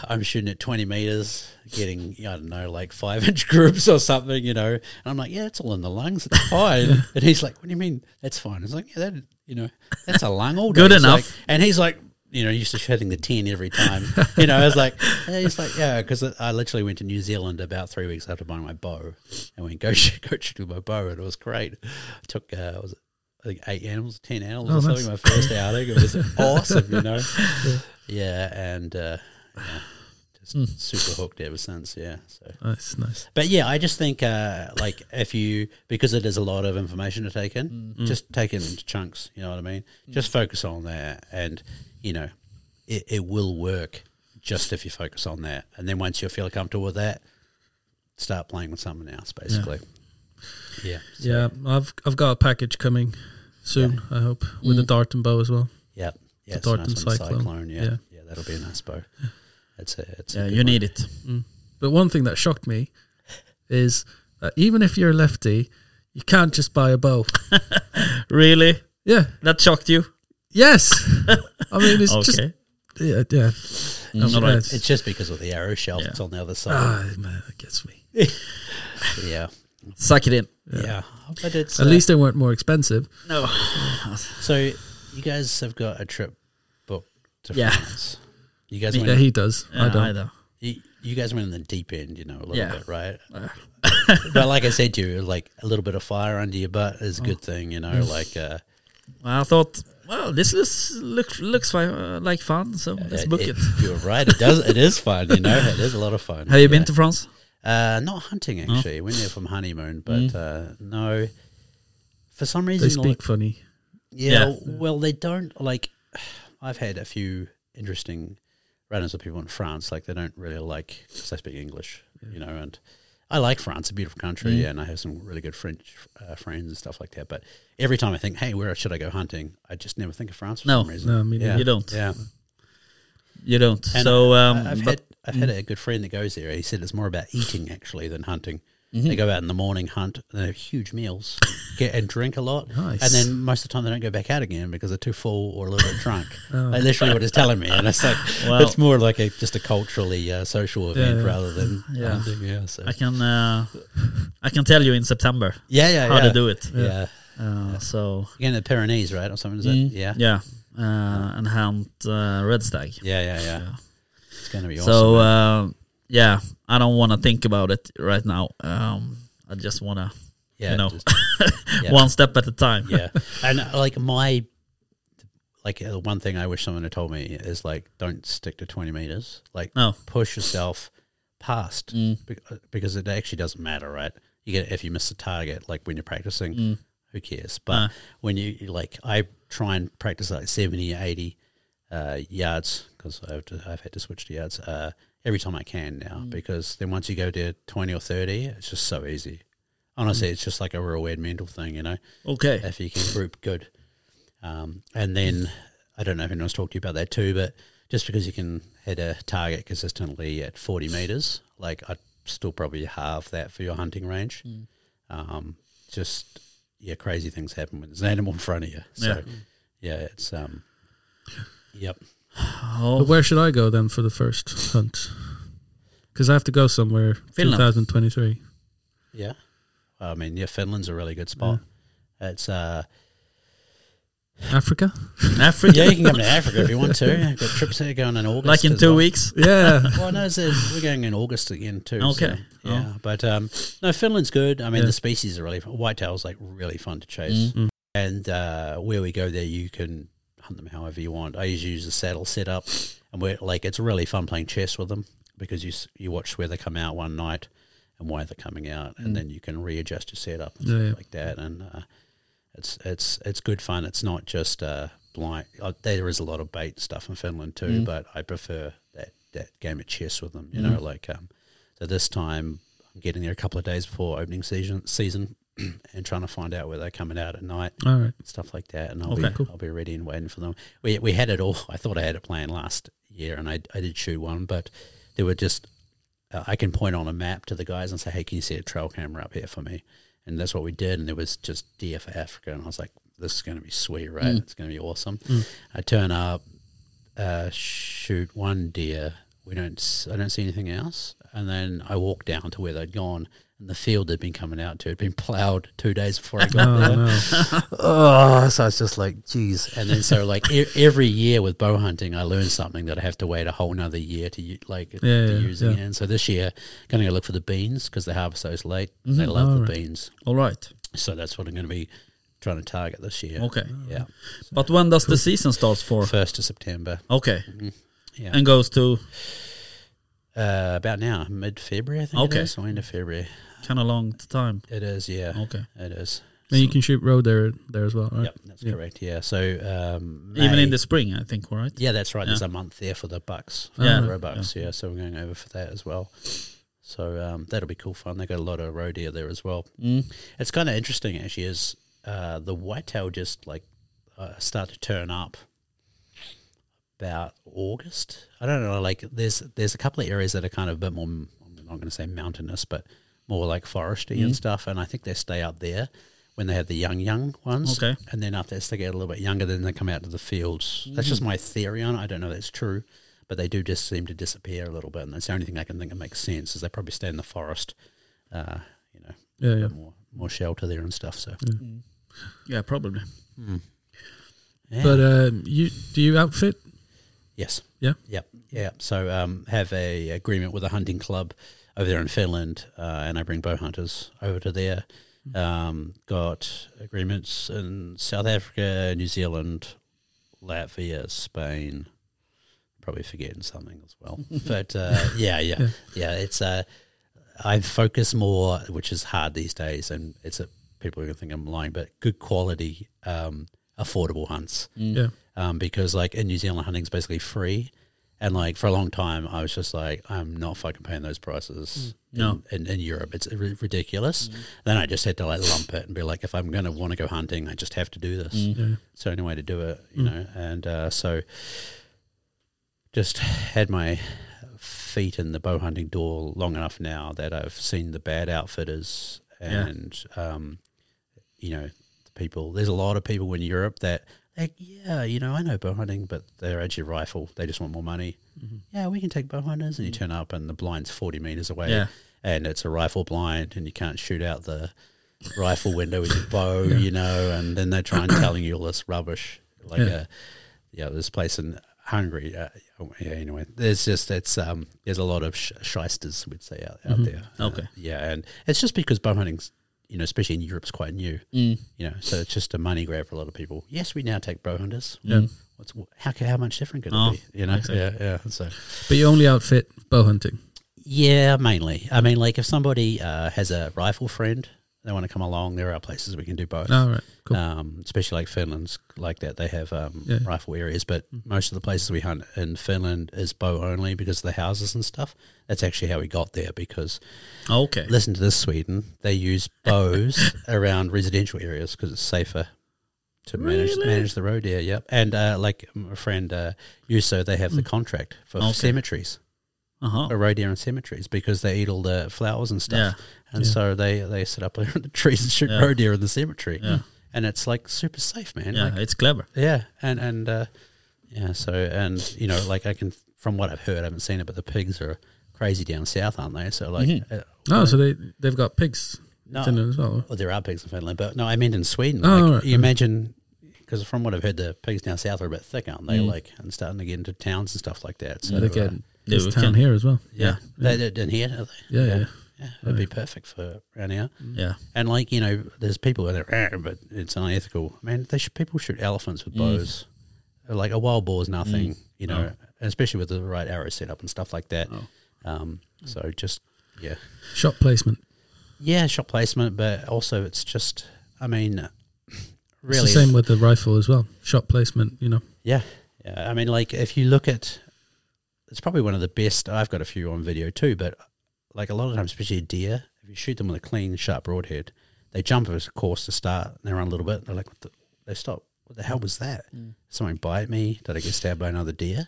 S5: I'm shooting at 20 meters, getting, I don't know, like five inch groups or something, you know. And I'm like, yeah, it's all in the lungs. It's fine. and he's like, what do you mean? That's fine. I was like, yeah, that, you know, that's a lung all day.
S3: Good
S5: He's like-
S3: enough.
S5: and he's like, you know, used to hitting the 10 every time. You know, I was like, and he's like, yeah, because I literally went to New Zealand about three weeks after buying my bow and went go shoot, go shoot with my bow. And it was great. I took, uh, was it, I think eight animals, 10 animals
S4: Oh,
S5: or
S4: nice.
S5: something, my first outing. It was awesome, you know? Yeah. and, uh, yeah, just
S4: Hmm.
S5: super hooked ever since. Yeah. So,
S4: Nice, nice.
S5: but yeah, I just think uh, like if you because it is a lot of information to take in,
S4: Hmm.
S5: just take it into chunks. You know what I mean? Just focus on that, and you know, it, it will work. Just if you focus on that, and then once you feel comfortable with that, start playing with something else. Basically, yeah, So,
S4: Yeah, I've I've got a package coming soon. I hope with
S3: Mm.
S4: a dart and bow as well.
S5: yeah, yeah.
S4: The
S5: It's a nice
S4: Darton
S5: one,
S4: Cyclone.
S5: cyclone. Yeah. yeah,
S4: Yeah.
S5: that'll be a nice bow. That's it. It's a
S3: Yeah,
S5: good
S3: Uh, you
S5: one.
S3: need it.
S4: But one thing that shocked me is that even if you're a lefty, you can't just buy a bow.
S3: Really?
S4: Yeah.
S3: That shocked you?
S4: Yes. I mean, it's just
S3: Okay.
S4: yeah, yeah.
S3: Mm, all
S4: Yeah,
S3: right.
S4: it's-
S5: It's just because of the arrow shelf. It's on the other side.
S4: Ah, man, that gets me.
S5: yeah,
S3: Suck it in.
S5: yeah, But it's
S4: At
S5: uh,
S4: least they weren't more expensive.
S3: No.
S5: So you guys have got a trip booked to
S3: Yeah.
S5: France. You guys went.
S4: Yeah, he does. I
S3: Yeah,
S4: don't.
S3: I don't.
S5: you, you guys went in the deep end, you know, a little
S3: Yeah. Uh.
S5: bit, right? but like I said to you, like a little bit of fire under your butt is
S3: Oh.
S5: a good thing, you know. Like, uh,
S3: I thought, well, this is, look, looks fi- uh, like fun, so let's
S5: it-
S3: book it.
S5: it- You're right. It does. It is fun, you know. It is a lot of fun.
S3: Have you been
S5: Yeah.
S3: to France?
S5: Uh, not hunting actually. Went there from honeymoon, but uh, no. For some reason,
S4: They
S5: like-
S4: speak funny.
S5: Yeah,
S3: Yeah.
S5: Well, they don't like. I've had a few interesting run-ins with people in France. Like they don't really like because they speak English, you know. And I like France; a beautiful country, and I have some really good French uh, friends and stuff like that. But every time I think, "Hey, where should I go hunting?" I just never think of France for
S3: No.
S5: some reason.
S4: No, I mean,
S5: yeah.
S3: You don't.
S5: Yeah.
S3: You don't.
S5: And
S3: so, um,
S5: I- I've
S3: but
S5: had I've had a good friend that goes there. He said it's more about eating actually than hunting.
S3: Mm-hmm.
S5: They go out in the morning, hunt, and they have huge meals, get and drink a lot,
S4: Nice.
S5: and then most of the time they don't go back out again because they're too full or a little bit drunk. Like, literally, what it's telling me, and it's like
S3: Oh. Wow.
S5: it's more like a just a culturally uh, social event
S4: yeah.
S5: rather than
S3: Yeah.
S5: hunting. Yeah, so.
S3: I can, uh, I can tell you in September
S5: yeah, yeah,
S3: how
S5: yeah.
S3: to do it.
S5: Yeah,
S3: Uh, so, mm,
S5: you're in the Pyrenees, right, or something? Is it? Yeah,
S3: Mm-hmm. yeah, uh, and hunt uh, red stag.
S5: yeah, yeah, yeah. It's gonna be awesome.
S3: So, uh, yeah, I don't want to think about it right now. Um, I just want to
S5: yeah,
S3: you know,
S5: just- yeah.
S3: one step at a time.
S5: yeah and uh, like my like uh, one thing i wish someone had told me is like don't stick to 20 meters like
S3: No.
S5: push yourself past be- uh, because it actually doesn't matter right you get if you miss the target like when you're practicing who cares but
S3: Uh.
S5: when you you, like i try and practice like 70 80 uh, yards because I've to, I've had to switch to yards uh, every time I can now because then once you go to twenty or thirty, it's just so easy. Honestly, it's just like a real weird mental thing, you know
S3: Okej.
S5: if you can group good. Um, and then I don't know if anyone's talked to you about that too, but just because you can hit a target consistently at 40 meters, like I'd still probably halve that for your hunting range.
S3: Mm.
S5: Um, just, yeah, crazy things happen when there's an animal in front of you. So, yeah, it's, um, yep.
S4: But
S3: Ja.
S4: where should I go then for the first hunt? Because I have to go somewhere.
S3: Finland.
S4: 2023.
S5: Yeah. I mean, yeah, Finland's a really good spot. It's, uh,
S4: Africa.
S5: yeah,
S3: Africa.
S5: you can come to Africa if you want to. I've got trips there going in August.
S3: Like in
S5: as
S3: two
S5: well.
S3: weeks.
S4: Yeah.
S5: well, no, so we're going in August again too.
S3: Okay.
S5: so, yeah, but um, no, Finland's good. I mean,
S4: Oh. Yeah.
S5: the species are really fun. whitetails like really fun to chase,
S4: Mm.
S5: and uh, where we go there, you can hunt them however you want. I usually use the saddle setup, and we're like it's really fun playing chess with them because you s- you watch where they come out one night and why they're coming out,
S4: Mm.
S5: and then you can readjust your setup and
S4: Yeah,
S5: stuff
S4: yeah.
S5: like that, and. Uh, it's it's it's good fun. It's not just uh, blind. Uh, there is a lot of bait stuff in Finland too, but I prefer that that game of chess with them. You know, like um, so this time I'm getting there a couple of days before opening season season, and trying to find out where they're coming out at night
S4: All right.
S5: stuff like that, and I'll
S3: Okay.
S5: be I'll be ready and waiting for them. We we had it all. I thought I had it planned last year, and I I did shoot one, but there were just uh, I can point on a map to the guys and say, hey, can you see a trail camera up here for me? And that's what we did, and there was just deer for Africa, and I was like, this is going to be sweet, right? It's going to be awesome. I turn up, uh, shoot one deer. We don't. s- I don't see anything else, and then I walk down to where they'd gone. And the field they'd been coming out to had been ploughed two days before I got there
S4: Oh no.
S5: oh, so it's just like, geez. And then so like e- every year with bow hunting, I learn something that I have to wait a whole nother year to u- like
S4: Yeah,
S5: to
S4: yeah,
S5: use
S4: yeah.
S5: again. So this year, going to go look for the beans because they harvest those late. They love the
S4: Mm-hmm. Alright.
S5: beans,
S3: All right.
S5: so that's what I'm going to be trying to target this year.
S3: Okay.
S5: Yeah,
S3: But when does the season starts for?
S5: first of September.
S3: Okay.
S5: Yeah,
S3: And goes to
S5: uh, about now, mid February. I think
S3: Okay.
S5: it is, or end of February.
S3: kind of long time.
S5: It is. Yeah.
S3: Okay.
S5: It is.
S4: And you can shoot road there there as well, right?
S5: Yep, that's correct. Yeah. So um,
S3: Even
S5: May-
S3: in the spring, I think, right?
S5: Yeah, that's right. There's
S3: Yeah.
S5: a month there for the bucks, for
S3: Yeah.
S5: the Roebucks. Yeah. so we're going over for that as well. So um, that'll be cool fun. They got a lot of roe deer there as well.
S3: Mm.
S5: It's kind of interesting actually. Is uh, the whitetail just like uh, start to turn up about August? I don't know. Like there's there's a couple of areas that are kind of a bit more. I'm not going to say mountainous, but more like foresty and stuff. And I think they stay up there when they have the young young ones.
S3: Okay.
S5: And then after as they get a little bit younger, then they come out to the fields. That's just my theory on it. I don't know if that's true, but they do just seem to disappear a little bit. And that's the only thing I can think that makes sense is they probably stay in the forest. Uh, you know,
S4: Yeah, yeah.
S5: bit more more shelter there and stuff. So,
S4: Mm.
S3: Yeah, probably.
S5: yeah.
S4: But uh, you do you outfit?
S5: yes,
S4: Yeah.
S5: yep, yeah. So, um, have a agreement with a hunting club over there in Finland, uh, and I bring bow hunters over to there. Um, got agreements in South Africa, New Zealand, Latvia, Spain. Probably forgetting something as well, but uh, yeah, yeah, yeah. It's uh, I focus more, which is hard these days, and it's a, people are going to think I'm lying, but good quality, um, affordable hunts.
S4: Yeah.
S5: um, because like in New Zealand, hunting's basically free. And like for a long time, I was just like, I'm not fucking paying those prices.
S3: No.
S5: in, in, in Europe, it's ri- ridiculous. Then I just had to like lump it and be like, if I'm gonna want to go hunting, I just have to do this.
S3: Mm.
S4: Yeah.
S5: It's the only way to do it, you know. And uh, so, just had my feet in the bow hunting door long enough now that I've seen the bad outfitters
S3: Yeah.
S5: and um, you know the people. There's a lot of people in Europe that. Like, yeah, you know, I know bow hunting, but they're actually rifle. They just want more money. Yeah, we can take bow hunters, and you turn up, and the blind's forty meters away,
S3: Yeah.
S5: and it's a rifle blind, and you can't shoot out the rifle window with your bow, you know, and then they try and telling you all this rubbish. Like, yeah,
S4: Yeah.
S5: uh, yeah this place in Hungary. Uh, oh, yeah, anyway, there's just it's um there's a lot of sh- shysters we'd say out, out there. Uh,
S3: Okay.
S5: yeah, and it's just because bow hunting's you know, especially in Europe's quite new. Mm. You know, so it's just a money grab for a lot of people. Yes, we now take bow hunters. Yeah. What's how ca- how much different could
S3: Oh,
S5: it be? You know, yeah, yeah. So
S4: But you only outfit bow hunting.
S5: yeah, mainly. I mean, like if somebody uh, has a rifle friend they want to come along, there are places we can do both.
S4: All right, Oh, cool.
S5: Um, especially like Finland's like that. They have um,
S4: Yeah.
S5: rifle areas, but most of the places we hunt in Finland is bow only because of the houses and stuff. That's actually how we got there because
S3: Ah, Okay.
S5: listen to this, Sweden. They use bows around residential areas because it's safer to manage manage the road area. Yep. And uh, like my friend uh, Yuso, they have the contract for
S3: Hmm. Okay.
S5: cemeteries,
S3: Uh-huh.
S5: a road area and cemeteries because they eat all the flowers and stuff.
S3: Yeah.
S5: And
S4: Yeah.
S5: so they they sit up there in the trees and shoot
S3: Yeah.
S5: roe deer in the cemetery.
S3: Yeah.
S5: And it's like super safe, man.
S3: Yeah,
S5: Mm. Like,
S3: it's clever.
S5: yeah, and and uh, yeah, so and you know, like I can from what I've heard, I haven't seen it, but the pigs are crazy down south, aren't they? So like,
S3: Mhm.
S5: uh,
S4: Oh, so they they've got pigs
S5: no,
S4: in it as well.
S5: well, there are pigs in Finland, but no, I meant in Sweden.
S4: Oh,
S5: like,
S4: all right.
S5: You imagine because from what I've heard, the pigs down south are a bit thick, aren't they?
S3: Mm.
S5: Like and starting to get into towns and stuff like that. So
S4: They
S5: uh,
S4: get
S3: Yeah,
S4: this
S3: we
S4: town
S3: can-
S4: here as well.
S5: yeah, they did in here. Are they?
S4: Yeah, yeah. yeah.
S5: yeah, it'd be perfect for around here.
S3: Yeah.
S5: And like you know, there's people that are, "Ah, but it's unethical. Man, they should people shoot elephants
S4: Mm.
S5: with bows. Like a wild boar is nothing, you know, especially with the right arrow setup and stuff like that. Um, so just yeah,
S4: Shot placement.
S5: yeah, shot placement, but also it's just, I mean, really,
S4: It's the same with the rifle as well. Shot placement, you know.
S5: yeah, yeah. I mean, like if you look at, it's probably one of the best. I've got a few on video too, but like a lot of times, especially deer, if you shoot them with a clean, sharp broadhead, they jump of course to start. And they run a little bit. They're like, what the, they stop. What the hell was that?
S4: Mm.
S5: Someone bite me? Did I get stabbed by another deer?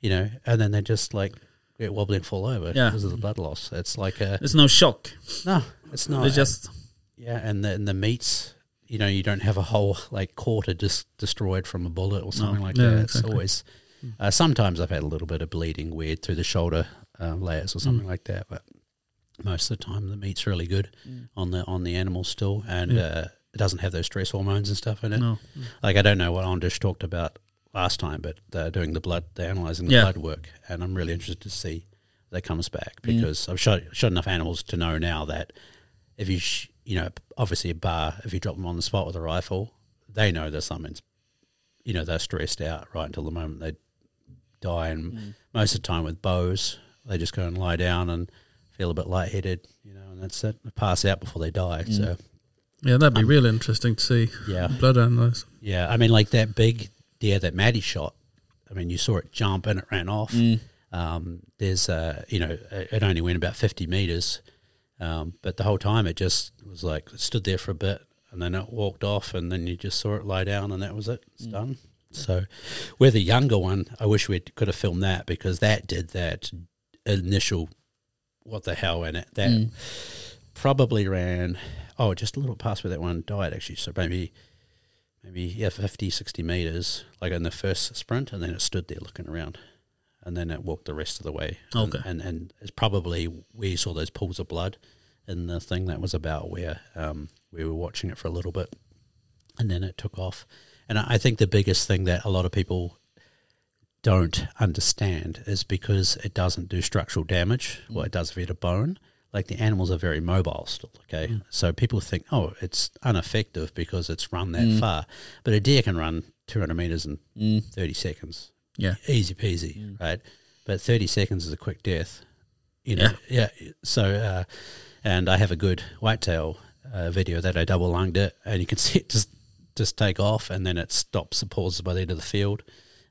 S5: You know, and then they just like get wobbling, fall over
S3: Yeah.
S5: because of the blood loss. It's like a
S3: There's no shock.
S5: no, it's not.
S3: It's just
S5: Yeah, and the, and the meats, you know, you don't have a whole like quarter just destroyed from a bullet or something like
S4: No,
S5: that. It's
S4: exactly.
S5: always. Uh, sometimes I've had a little bit of bleeding weird through the shoulder uh, layers or
S4: Mm.
S5: something like that, but most of the time the meat's really good
S4: Mm.
S5: on the on the animal still, and uh, it doesn't have those stress hormones and stuff in it.
S3: no.
S5: Like I don't know what Anders talked about last time, but they're doing the blood, they're analyzing the
S3: Yeah.
S5: blood work, and I'm really interested to see that comes back because I've shot shot enough animals to know now that if you sh- you know obviously a bar, if you drop them on the spot with a rifle, they know that something's you know they're stressed out right until the moment they die, and most of the time with bows they just go and lie down and feel a bit lightheaded, you know, and that's it. They pass out before they die. So
S4: Yeah, that'd be
S5: Um,
S4: real interesting to see.
S5: yeah,
S4: Blood analyze.
S5: yeah, I mean, like that big deer that Maddie shot. I mean, you saw it jump and it ran off. Um, there's, uh, you know, it it only went about 50 meters, um, but the whole time it just was like it stood there for a bit, and then it walked off, and then you just saw it lie down, and that was it. It's done. So, with the younger one, I wish we could have filmed that because that did that initial what the hell in it that probably ran oh just a little past where that one died actually so maybe maybe yeah 50 60 meters like in the first sprint and then it stood there looking around and then it walked the rest of the way And-
S3: Okay.
S5: and and it's probably where you saw those pools of blood in the thing that was about where um, we were watching it for a little bit and then it took off and I I think the biggest thing that a lot of people don't understand is because it doesn't do structural damage. Well, it does if you hit a bone. Like the animals are very mobile still, okay? So people think, oh, it's ineffective because it's run that far. But a deer can run 200 meters in 30 seconds.
S3: Yeah.
S5: Easy peasy,
S4: Mm.
S5: right? But 30 seconds is a quick death. You know, yeah. So, uh, and I have a good whitetail uh, video that I double lunged it, and you can see it just just take off, and then it stops and pauses by the end of the field,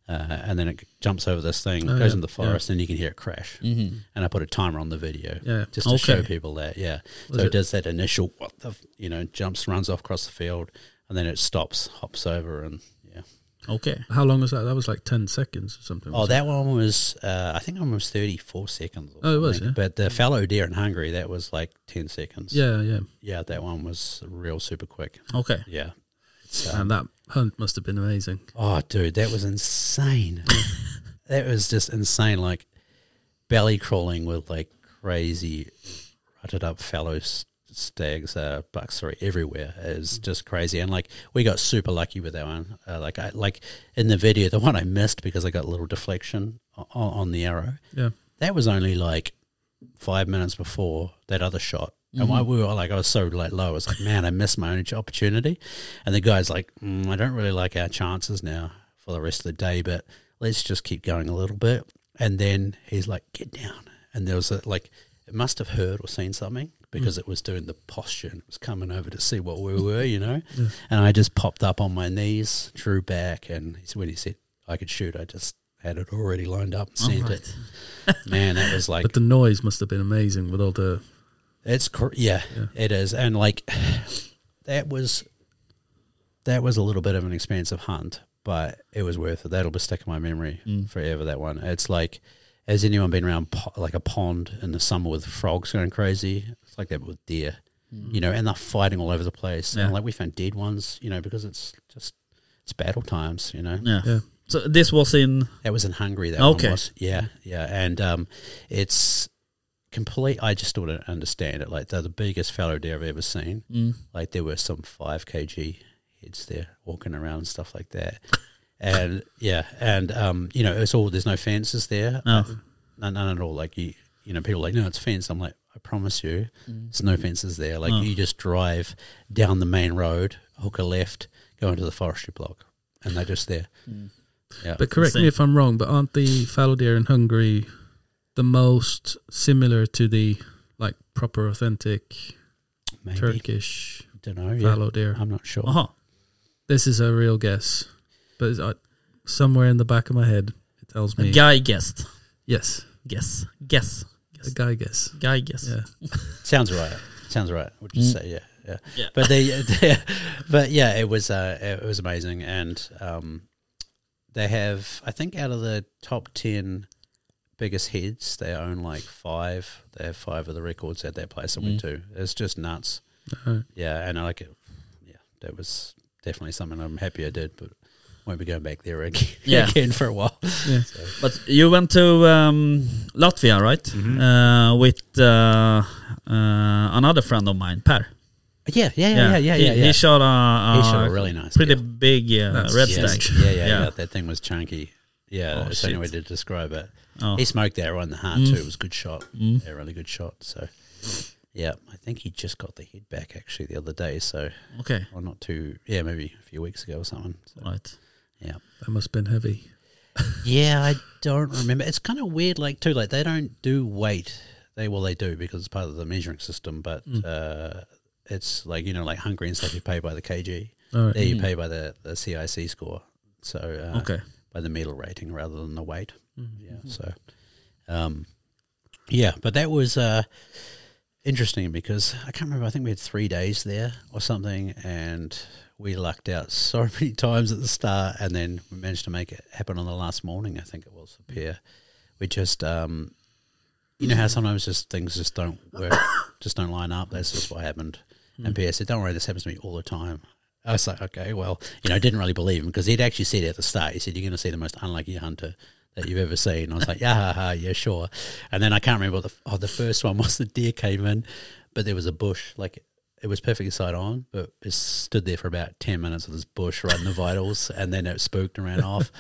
S5: uh, and then it jumps over this thing,
S4: Oh,
S5: goes
S4: yeah,
S5: in the
S4: yeah.
S5: forest, and you can hear it crash. Mm-hmm. And I put a timer on the video,
S4: Yeah.
S5: just to
S3: Okay.
S5: show people that, yeah.
S4: Was
S5: so it,
S4: it-
S5: does that initial what the, f- you know, jumps, runs off across the field, and then it stops, hops over, and yeah.
S3: Okay.
S4: How long was that? That was like 10 seconds or something.
S5: Oh, that one was, uh, I think one was 34 seconds. Or
S4: Oh, it was,
S5: something.
S4: yeah.
S5: But the fallow deer in Hungary, that was like 10 seconds.
S4: Yeah, yeah.
S5: Yeah, that one was real super quick.
S3: Okay.
S5: Yeah.
S4: And that hunt must have been amazing.
S5: Oh, dude, that was insane. that was just insane. Like belly crawling with like crazy, rutted up fallow s- stags, uh, bucks, sorry, everywhere. It
S4: Mm.
S5: was just crazy. And like we got super lucky with that one. Uh, like I like in the video, the one I missed because I got a little deflection on, on the arrow.
S4: Yeah.
S5: That was only like five minutes before that other shot. And I, we were like, I was so like low. I was like, man, I missed my only ch- opportunity. And the guy's like, mm, I don't really like our chances now for the rest of the day, but let's just keep going a little bit. And then he's like, get down. And there was a, like, it must have heard or seen something because it was doing the posture and it was coming over to see what we were, you know. And I just popped up on my knees, drew back, and he said- when he said I could shoot, I just had it already lined up and
S3: All
S5: sent
S3: right.
S5: it. Man, that was like
S4: But the noise must have been amazing with all the.
S5: it's cr- yeah, it is, and like that was that was a little bit of an expensive hunt, but it was worth it. That'll be stuck in my memory forever. That one. It's like has anyone been around po- like a pond in the summer with frogs going crazy? It's like that with deer, you know, and they're fighting all over the place.
S3: Yeah.
S5: And like we found dead ones, you know, because it's just it's battle times, you know.
S3: Yeah.
S4: Yeah.
S3: So this was in
S5: That was in Hungary. That
S3: Okay.
S5: one was. Yeah, yeah, and um, it's complete. I just don't understand it. Like they're the biggest fallow deer I've ever seen.
S3: Mm.
S5: Like there were some five kg heads there walking around and stuff like that. And yeah, and um, you know, it's all there's no fences there.
S3: No.
S5: Uh, none, none at all. Like you, you know, people are like, no, it's fenced. I'm like, I promise you,
S3: Mm.
S5: there's no fences there. Like
S3: No.
S5: you just drive down the main road, hook a left, go into the forestry block, and they're just there.
S3: Mm.
S5: Yeah.
S4: But correct
S3: Insane.
S4: me if I'm wrong, but aren't the fallow deer in Hungary the most similar to the like proper authentic
S5: Maybe.
S4: Turkish
S5: Don't know. Yeah. Um,
S4: fallow deer?
S5: I'm not sure.
S3: uh-huh.
S4: This is a real guess, but it's, uh, somewhere in the back of my head it tells
S3: a
S4: me
S3: guy guessed.
S4: yes,
S3: Guess. Guess.
S4: a guy guess.
S3: Guy guess.
S4: Yeah,
S5: Sounds right. Sounds right. Would you say? Yeah, yeah.
S3: Mm. Yeah.
S5: But they, they- but yeah, it was uh, it was amazing, and um, they have I think out of the top ten biggest heads, they own like five. They have five of the records at that place that
S3: Mm.
S5: we went to. It's just nuts.
S3: Uh-huh.
S4: Alright.
S5: Yeah, and I like it. Yeah, that was definitely something I'm happy I did, but won't be going back there again,
S3: Yeah.
S5: again for a while.
S4: yeah.
S3: But you went to um, Latvia, right?
S5: Mm-hmm.
S3: Uh, with uh, uh, another friend of mine, Per.
S5: Yeah, yeah, yeah, yeah, yeah, yeah.
S3: He,
S5: yeah.
S3: he shot a,
S5: He
S3: a
S5: shot a really nice
S3: pretty
S5: deer.
S3: big uh,
S4: That's
S3: red
S5: Yes.
S3: stag.
S5: Yeah, yeah,
S3: Yeah.
S5: yeah, That thing was chunky. Yeah,
S3: Oh,
S5: that's the only
S3: shit.
S5: way to describe it.
S3: Oh. Mm.
S5: He smoked that right in the heart too. It was a good shot. Yeah, really good shot. So, yeah, I think he just got the head back actually the other day. So,
S3: Okay.
S5: or not too, yeah, maybe a few weeks ago or something. So,
S3: Right.
S5: yeah.
S4: that must have been heavy.
S5: Yeah, I don't remember. It's kind of weird, like too. Like they don't do weight. They well, they do because it's part of the measuring system. But uh, it's like you know, like Hungary and stuff. You pay by the kg.
S4: All right.
S5: There you pay by the, the CIC score. So uh,
S3: Okay.
S5: by the medal rating rather than the weight. Yeah. So, um, yeah, but that was uh, interesting because I can't remember. I think we had three days there or something, and we lucked out so many times at the start, and then we managed to make it happen on the last morning. I think it was for Pierre. We just, um, you know, how sometimes just things just don't work, just don't line up. That's just what happened. And Pierre said, "Don't worry, this happens to me all the time." I was like, okay, well, you know, I didn't really believe him because he'd actually said at the start, he said, you're going to see the most unlucky hunter that you've ever seen. I was like, yeah, ha, ha, yeah, sure. And then I can't remember what the, oh, the first one was the deer came in, but there was a bush, like it was perfectly side on, but it stood there for about 10 minutes with this bush right in the vitals and then it spooked and ran off.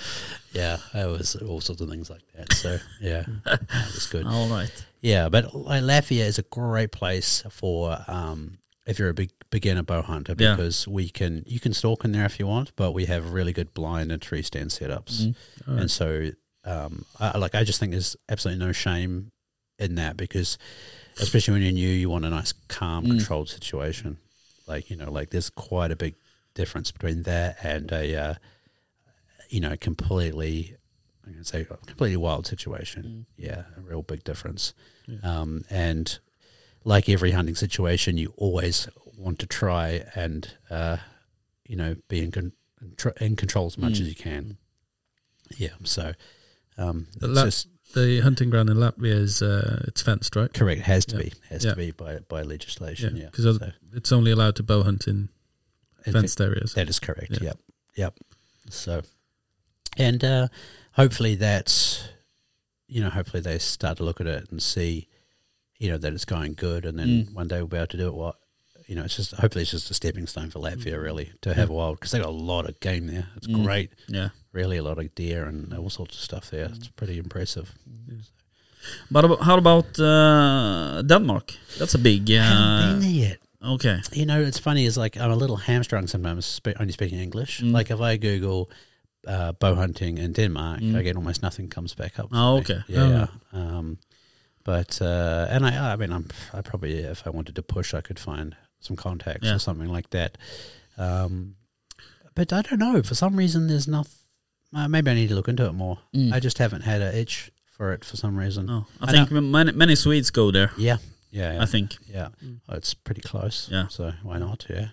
S5: Yeah, it was all sorts of things like that. So, yeah, that was good.
S3: All right.
S5: Yeah, but like Lafayette is a great place for um, if you're a big beginner bow hunter
S3: Yeah.
S5: because we can you can stalk in there if you want, but we have really good blind and tree stand setups, and so um, I, I- like I just think there's absolutely no shame in that because especially when you're new, you want a nice calm, controlled situation. Like you know, like there's quite a big difference between that and a uh, you know completely I'm going to say a completely wild
S4: Mm.
S5: situation. Yeah, a real big difference. Um, and like every hunting situation, you always want to try and, uh, you know, be in, con- tr- in control as much
S4: Mm.
S5: as you can. Yeah, so um,
S4: The
S5: it's
S4: la-
S5: just
S4: The hunting ground in Latvia is uh, it's fenced, right?
S5: correct. It has to
S4: Yeah.
S5: be. Has
S4: Yeah.
S5: to be by, by legislation. Yeah.
S4: because
S5: So,
S4: it's only allowed to bow hunt in
S5: in fact-
S4: fenced areas.
S5: That is correct.
S4: Yeah.
S5: Yep. Yep. So, and uh, hopefully that's, you know, hopefully they start to look at it and see, you know, that it's going good, and then one day we'll be able to do it. What, you know, it's just hopefully it's just a stepping stone for Latvia really to have a wild because they got a lot of game there. It's great,
S3: Yeah.
S5: really a lot of deer and all sorts of stuff there. It's pretty impressive.
S3: But ab- how about uh, Denmark? That's a big.
S5: Haven't
S3: Uh,
S5: been there yet.
S3: okay.
S5: You know, it's funny. Is like I'm a little hamstrung sometimes, spe- only speaking English.
S3: Mm.
S5: Like if I Google uh, bow hunting in Denmark, I get almost nothing comes back up. for
S3: Mm. Oh,
S5: me.
S3: okay.
S5: Yeah. Um, But uh, and I, I mean, I'm, I probably if I wanted to push, I could find some contacts
S3: Yeah.
S5: or something like that. Um, but I don't know. For some reason, there's nothing. Uh, maybe I need to look into it more.
S3: Mm.
S5: I just haven't had a itch for it for some reason.
S3: No, I,
S5: I
S3: think many, many Swedes go there.
S5: Yeah, yeah, yeah.
S3: Oh. I think.
S5: Yeah,
S4: Mm.
S5: Oh, it's pretty close.
S3: Yeah.
S5: So why not? Yeah.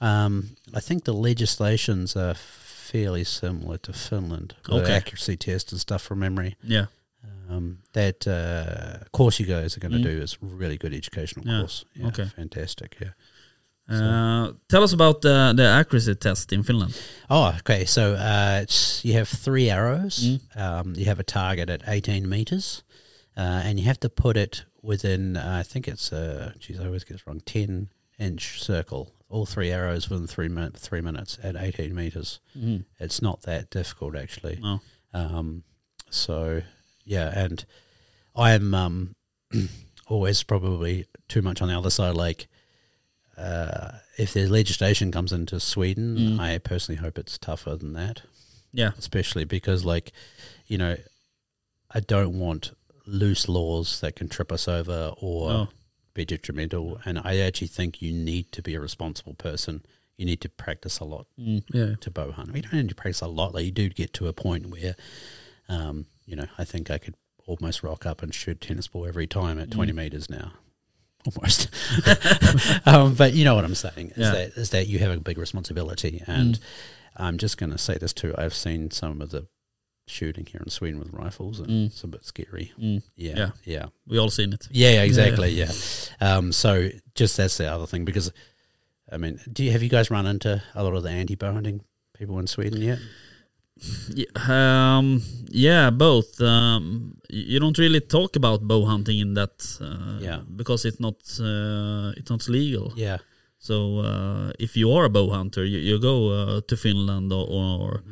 S5: Um, I think the legislations are fairly similar to Finland. with
S3: Okay.
S5: Accuracy test and stuff from memory.
S3: Yeah.
S5: Um, that uh, course you guys are going to
S3: Mm.
S5: do is really good educational
S3: Yeah,
S5: course. Yeah,
S3: okay.
S5: Fantastic. Yeah.
S3: Uh, tell us about the, the accuracy test in Finland.
S5: Oh, okay. So uh, it's you have three arrows.
S3: Mm.
S5: Um, you have a target at eighteen meters, uh, and you have to put it within. Uh, I think it's uh, geez, I always get this wrong. Ten inch circle. All three arrows within three min- three minutes at eighteen meters.
S3: Mm.
S5: It's not that difficult actually.
S3: No.
S5: Um, so yeah, and I am um, always probably too much on the other side. Like, uh, if there's legislation comes into Sweden,
S3: Mm.
S5: I personally hope it's tougher than that,
S3: Yeah.
S5: especially because, like, you know, I don't want loose laws that can trip us over or
S3: No.
S5: be detrimental. And I actually think you need to be a responsible person. You need to practice a lot
S3: Mm.
S4: Yeah.
S5: to bow hunt. We don't need to practice a lot. Like you do get to a point where, um, you know, I think I could almost rock up and shoot tennis ball every time
S3: Mm.
S5: at 20 meters now. Almost, um, but you know what I'm saying is
S3: Yeah. Mm.
S5: that is that you have a big responsibility, and I'm just going to say this too. I've seen some of the shooting here in Sweden with rifles, and
S3: Mm.
S5: it's a bit scary.
S3: Mm.
S5: Yeah,
S3: Yeah.
S5: yeah, yeah,
S3: We all seen it.
S5: yeah exactly. Yeah. Um, so just that's the other thing because, I mean, do you have you guys run into a lot of the anti-bow hunting people in Sweden yet?
S3: Yeah, um, yeah both. Um, y- you don't really talk about bow hunting in that, uh,
S5: Yeah.
S3: because it's not uh, it's not legal.
S5: Yeah.
S3: So uh, if you are a bow hunter, you, you go uh, to Finland or, or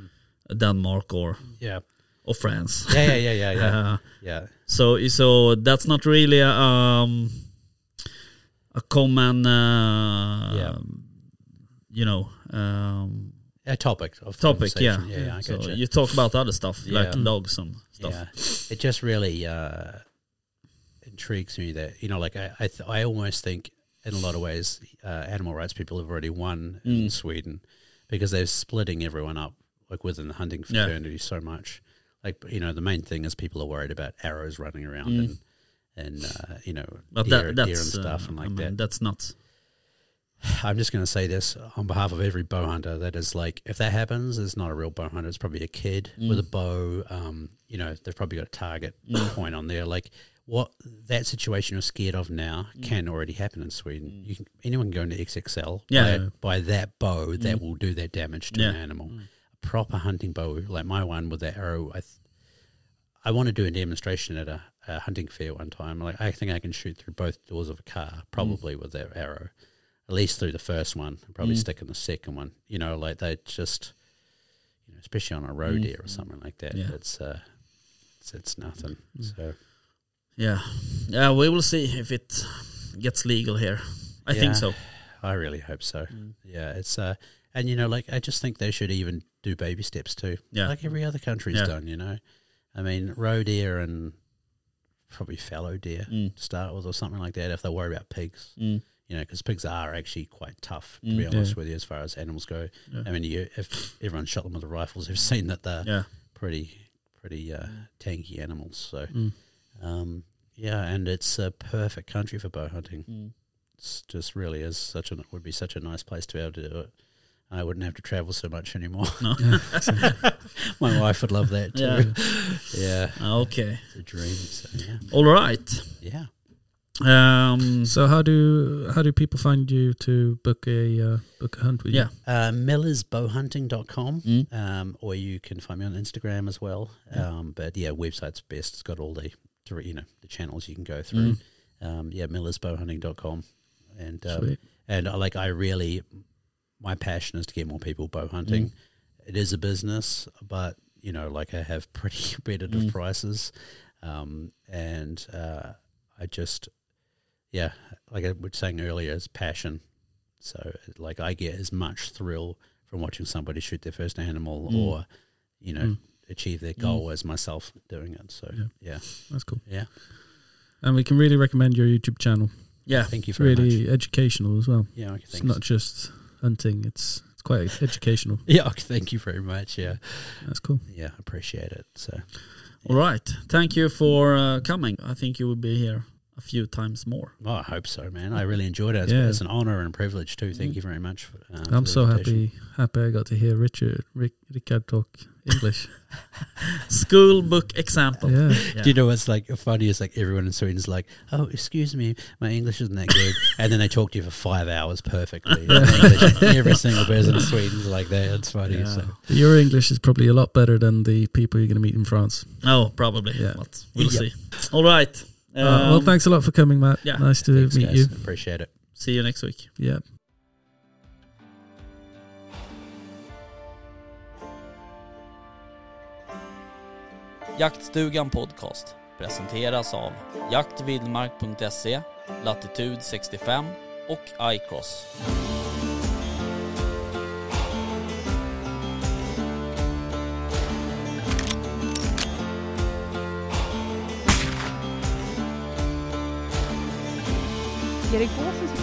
S3: Denmark or,
S5: Yeah.
S3: or France.
S5: Yeah, yeah, yeah, yeah, yeah.
S3: Uh,
S5: yeah.
S3: so so that's not really a, um, a common, uh,
S5: Yeah.
S3: you know. Um,
S5: A Uh, topic of
S3: Topic, yeah.
S5: conversation. Yeah, yeah, I
S3: so
S5: gotcha.
S3: you talk about other stuff like
S5: Yeah.
S3: dogs and stuff.
S5: Yeah. It just really uh, intrigues me that, you know, like I, I, th- I almost think in a lot of ways, uh, animal rights people have already won in
S3: Mm.
S5: Sweden because they're splitting everyone up, like within the hunting
S3: Yeah.
S5: fraternity so much. Like, you know, the main thing is people are worried about arrows running around
S3: Mm.
S5: and, and uh, you know,
S3: But
S5: deer,
S3: that,
S5: deer
S3: that's
S5: and stuff
S3: uh,
S5: and
S3: I
S5: like
S3: mean,
S5: that.
S3: That's nuts.
S5: I'm just going to say this on behalf of every bow hunter that is like, if that happens, it's not a real bow hunter. It's probably a kid with a bow. Um, you know, they've probably got a target point on there. Like, what that situation you're scared of now can already happen in Sweden. You can, anyone can go into XXL.
S3: Yeah.
S5: By, by that bow, that will do that damage to an
S3: Mm. Yeah.
S5: animal. A proper hunting bow, like my one with that arrow, I, th- I want to do a demonstration at a, a hunting fair one time. Like, I think I can shoot through both doors of a car,
S3: Mm.
S5: probably with that arrow at least through the first one, and
S3: Mm.
S5: probably stick in the second one. You know, like they just, you know, especially on a road here or something like that.
S3: Mm. Yeah. Mm.
S5: It's uh, it's, it's nothing. So
S3: Yeah, yeah. We will see if it gets legal here. I think
S5: Yeah.
S3: so.
S5: I really hope so.
S3: Mm.
S5: Yeah, it's uh, and you know, like I just think they should even do baby steps too.
S3: Yeah.
S5: like every other country's
S3: Yeah.
S5: done. You know, I mean, roe deer and probably fallow deer
S3: Mm.
S5: to start with, or something like that. If they worry about pigs,
S3: Mm.
S5: you know, because pigs are actually quite tough, to
S3: Mm.
S5: be
S4: Yeah.
S5: honest with you, as far as animals go.
S3: Yeah.
S5: I mean, you, if everyone shot them with the rifles, they've seen that they're
S3: Yeah.
S5: pretty, pretty uh, tanky animals. So,
S4: Mm.
S5: um, yeah, and it's a perfect country for bow hunting.
S3: Mm.
S5: It's just really is such a would be such a nice place to be able to do it. I wouldn't have to travel so much anymore.
S3: No.
S5: My wife would love that too.
S3: Yeah.
S5: Yeah,
S3: Okay.
S5: it's a dream. So yeah,
S3: All right.
S5: yeah.
S3: Um.
S4: So how do how do people find you to book a uh, book a hunt with
S3: Yeah.
S4: you?
S5: Uh, millersbowhunting.com.
S3: Mm.
S5: um, or you can find me on Instagram as well. Um, but yeah, website's best. It's got all the, dir- you know the channels you can go through. Um, yeah, millersbowhunting.com. and um,
S4: Sweet.
S5: and I like I really my passion is to get more people bow hunting.
S4: Mm.
S5: It is a business, but you know, like I have pretty competitive
S3: Mm.
S5: prices, um, and uh, I just yeah, like I was saying earlier, it's passion. So like I get as much thrill from watching somebody shoot their first animal
S3: Mm.
S5: or, you know,
S4: Mm.
S5: achieve their goal as myself doing it. So
S4: Yeah.
S5: yeah.
S4: That's cool.
S5: Yeah.
S4: And we can really recommend your YouTube channel.
S3: Yeah.
S5: Thank you
S4: It's
S5: very
S4: really
S5: much.
S4: educational as well.
S5: Yeah, okay,
S4: It's
S5: thanks.
S4: not just hunting. It's it's quite educational.
S5: yeah, okay, thank you very much. Yeah,
S4: That's cool.
S5: yeah, appreciate it. So
S3: All right. Thank you for uh, coming. I think you will be here a few times more.
S5: well, I hope so, man. I really enjoyed it. It's,
S4: Yeah.
S5: it's an honor and privilege too. Thank you very much. For, uh, for
S4: I'm
S5: the
S4: so
S5: invitation.
S4: happy happy I got to hear Richard Rick Rickard talk English.
S3: School book
S5: Oh.
S3: example.
S4: yeah.
S5: Do you know what's like funny is like everyone in Sweden is like, oh, excuse me, my English isn't that good, and then they talk to you for five hours perfectly. in English. Every single person in Sweden's like that. It's funny.
S3: Yeah.
S5: So.
S4: Your English is probably a lot better than the people you're going to meet in France.
S3: Oh, probably.
S4: Yeah.
S3: But we'll
S5: Yeah.
S3: see. All right.
S4: Uh, well,
S3: Um,
S4: thanks a lot for coming, Matt.
S3: yeah,
S4: nice to
S5: Thanks,
S4: meet
S5: guys.
S4: you.
S5: Appreciate it.
S3: see you next week.
S4: Yeah.
S3: Jaktstugan Podcast presenteras av jaktvildmark.se, Latitud 65 och iCross.
S6: Erik Båsens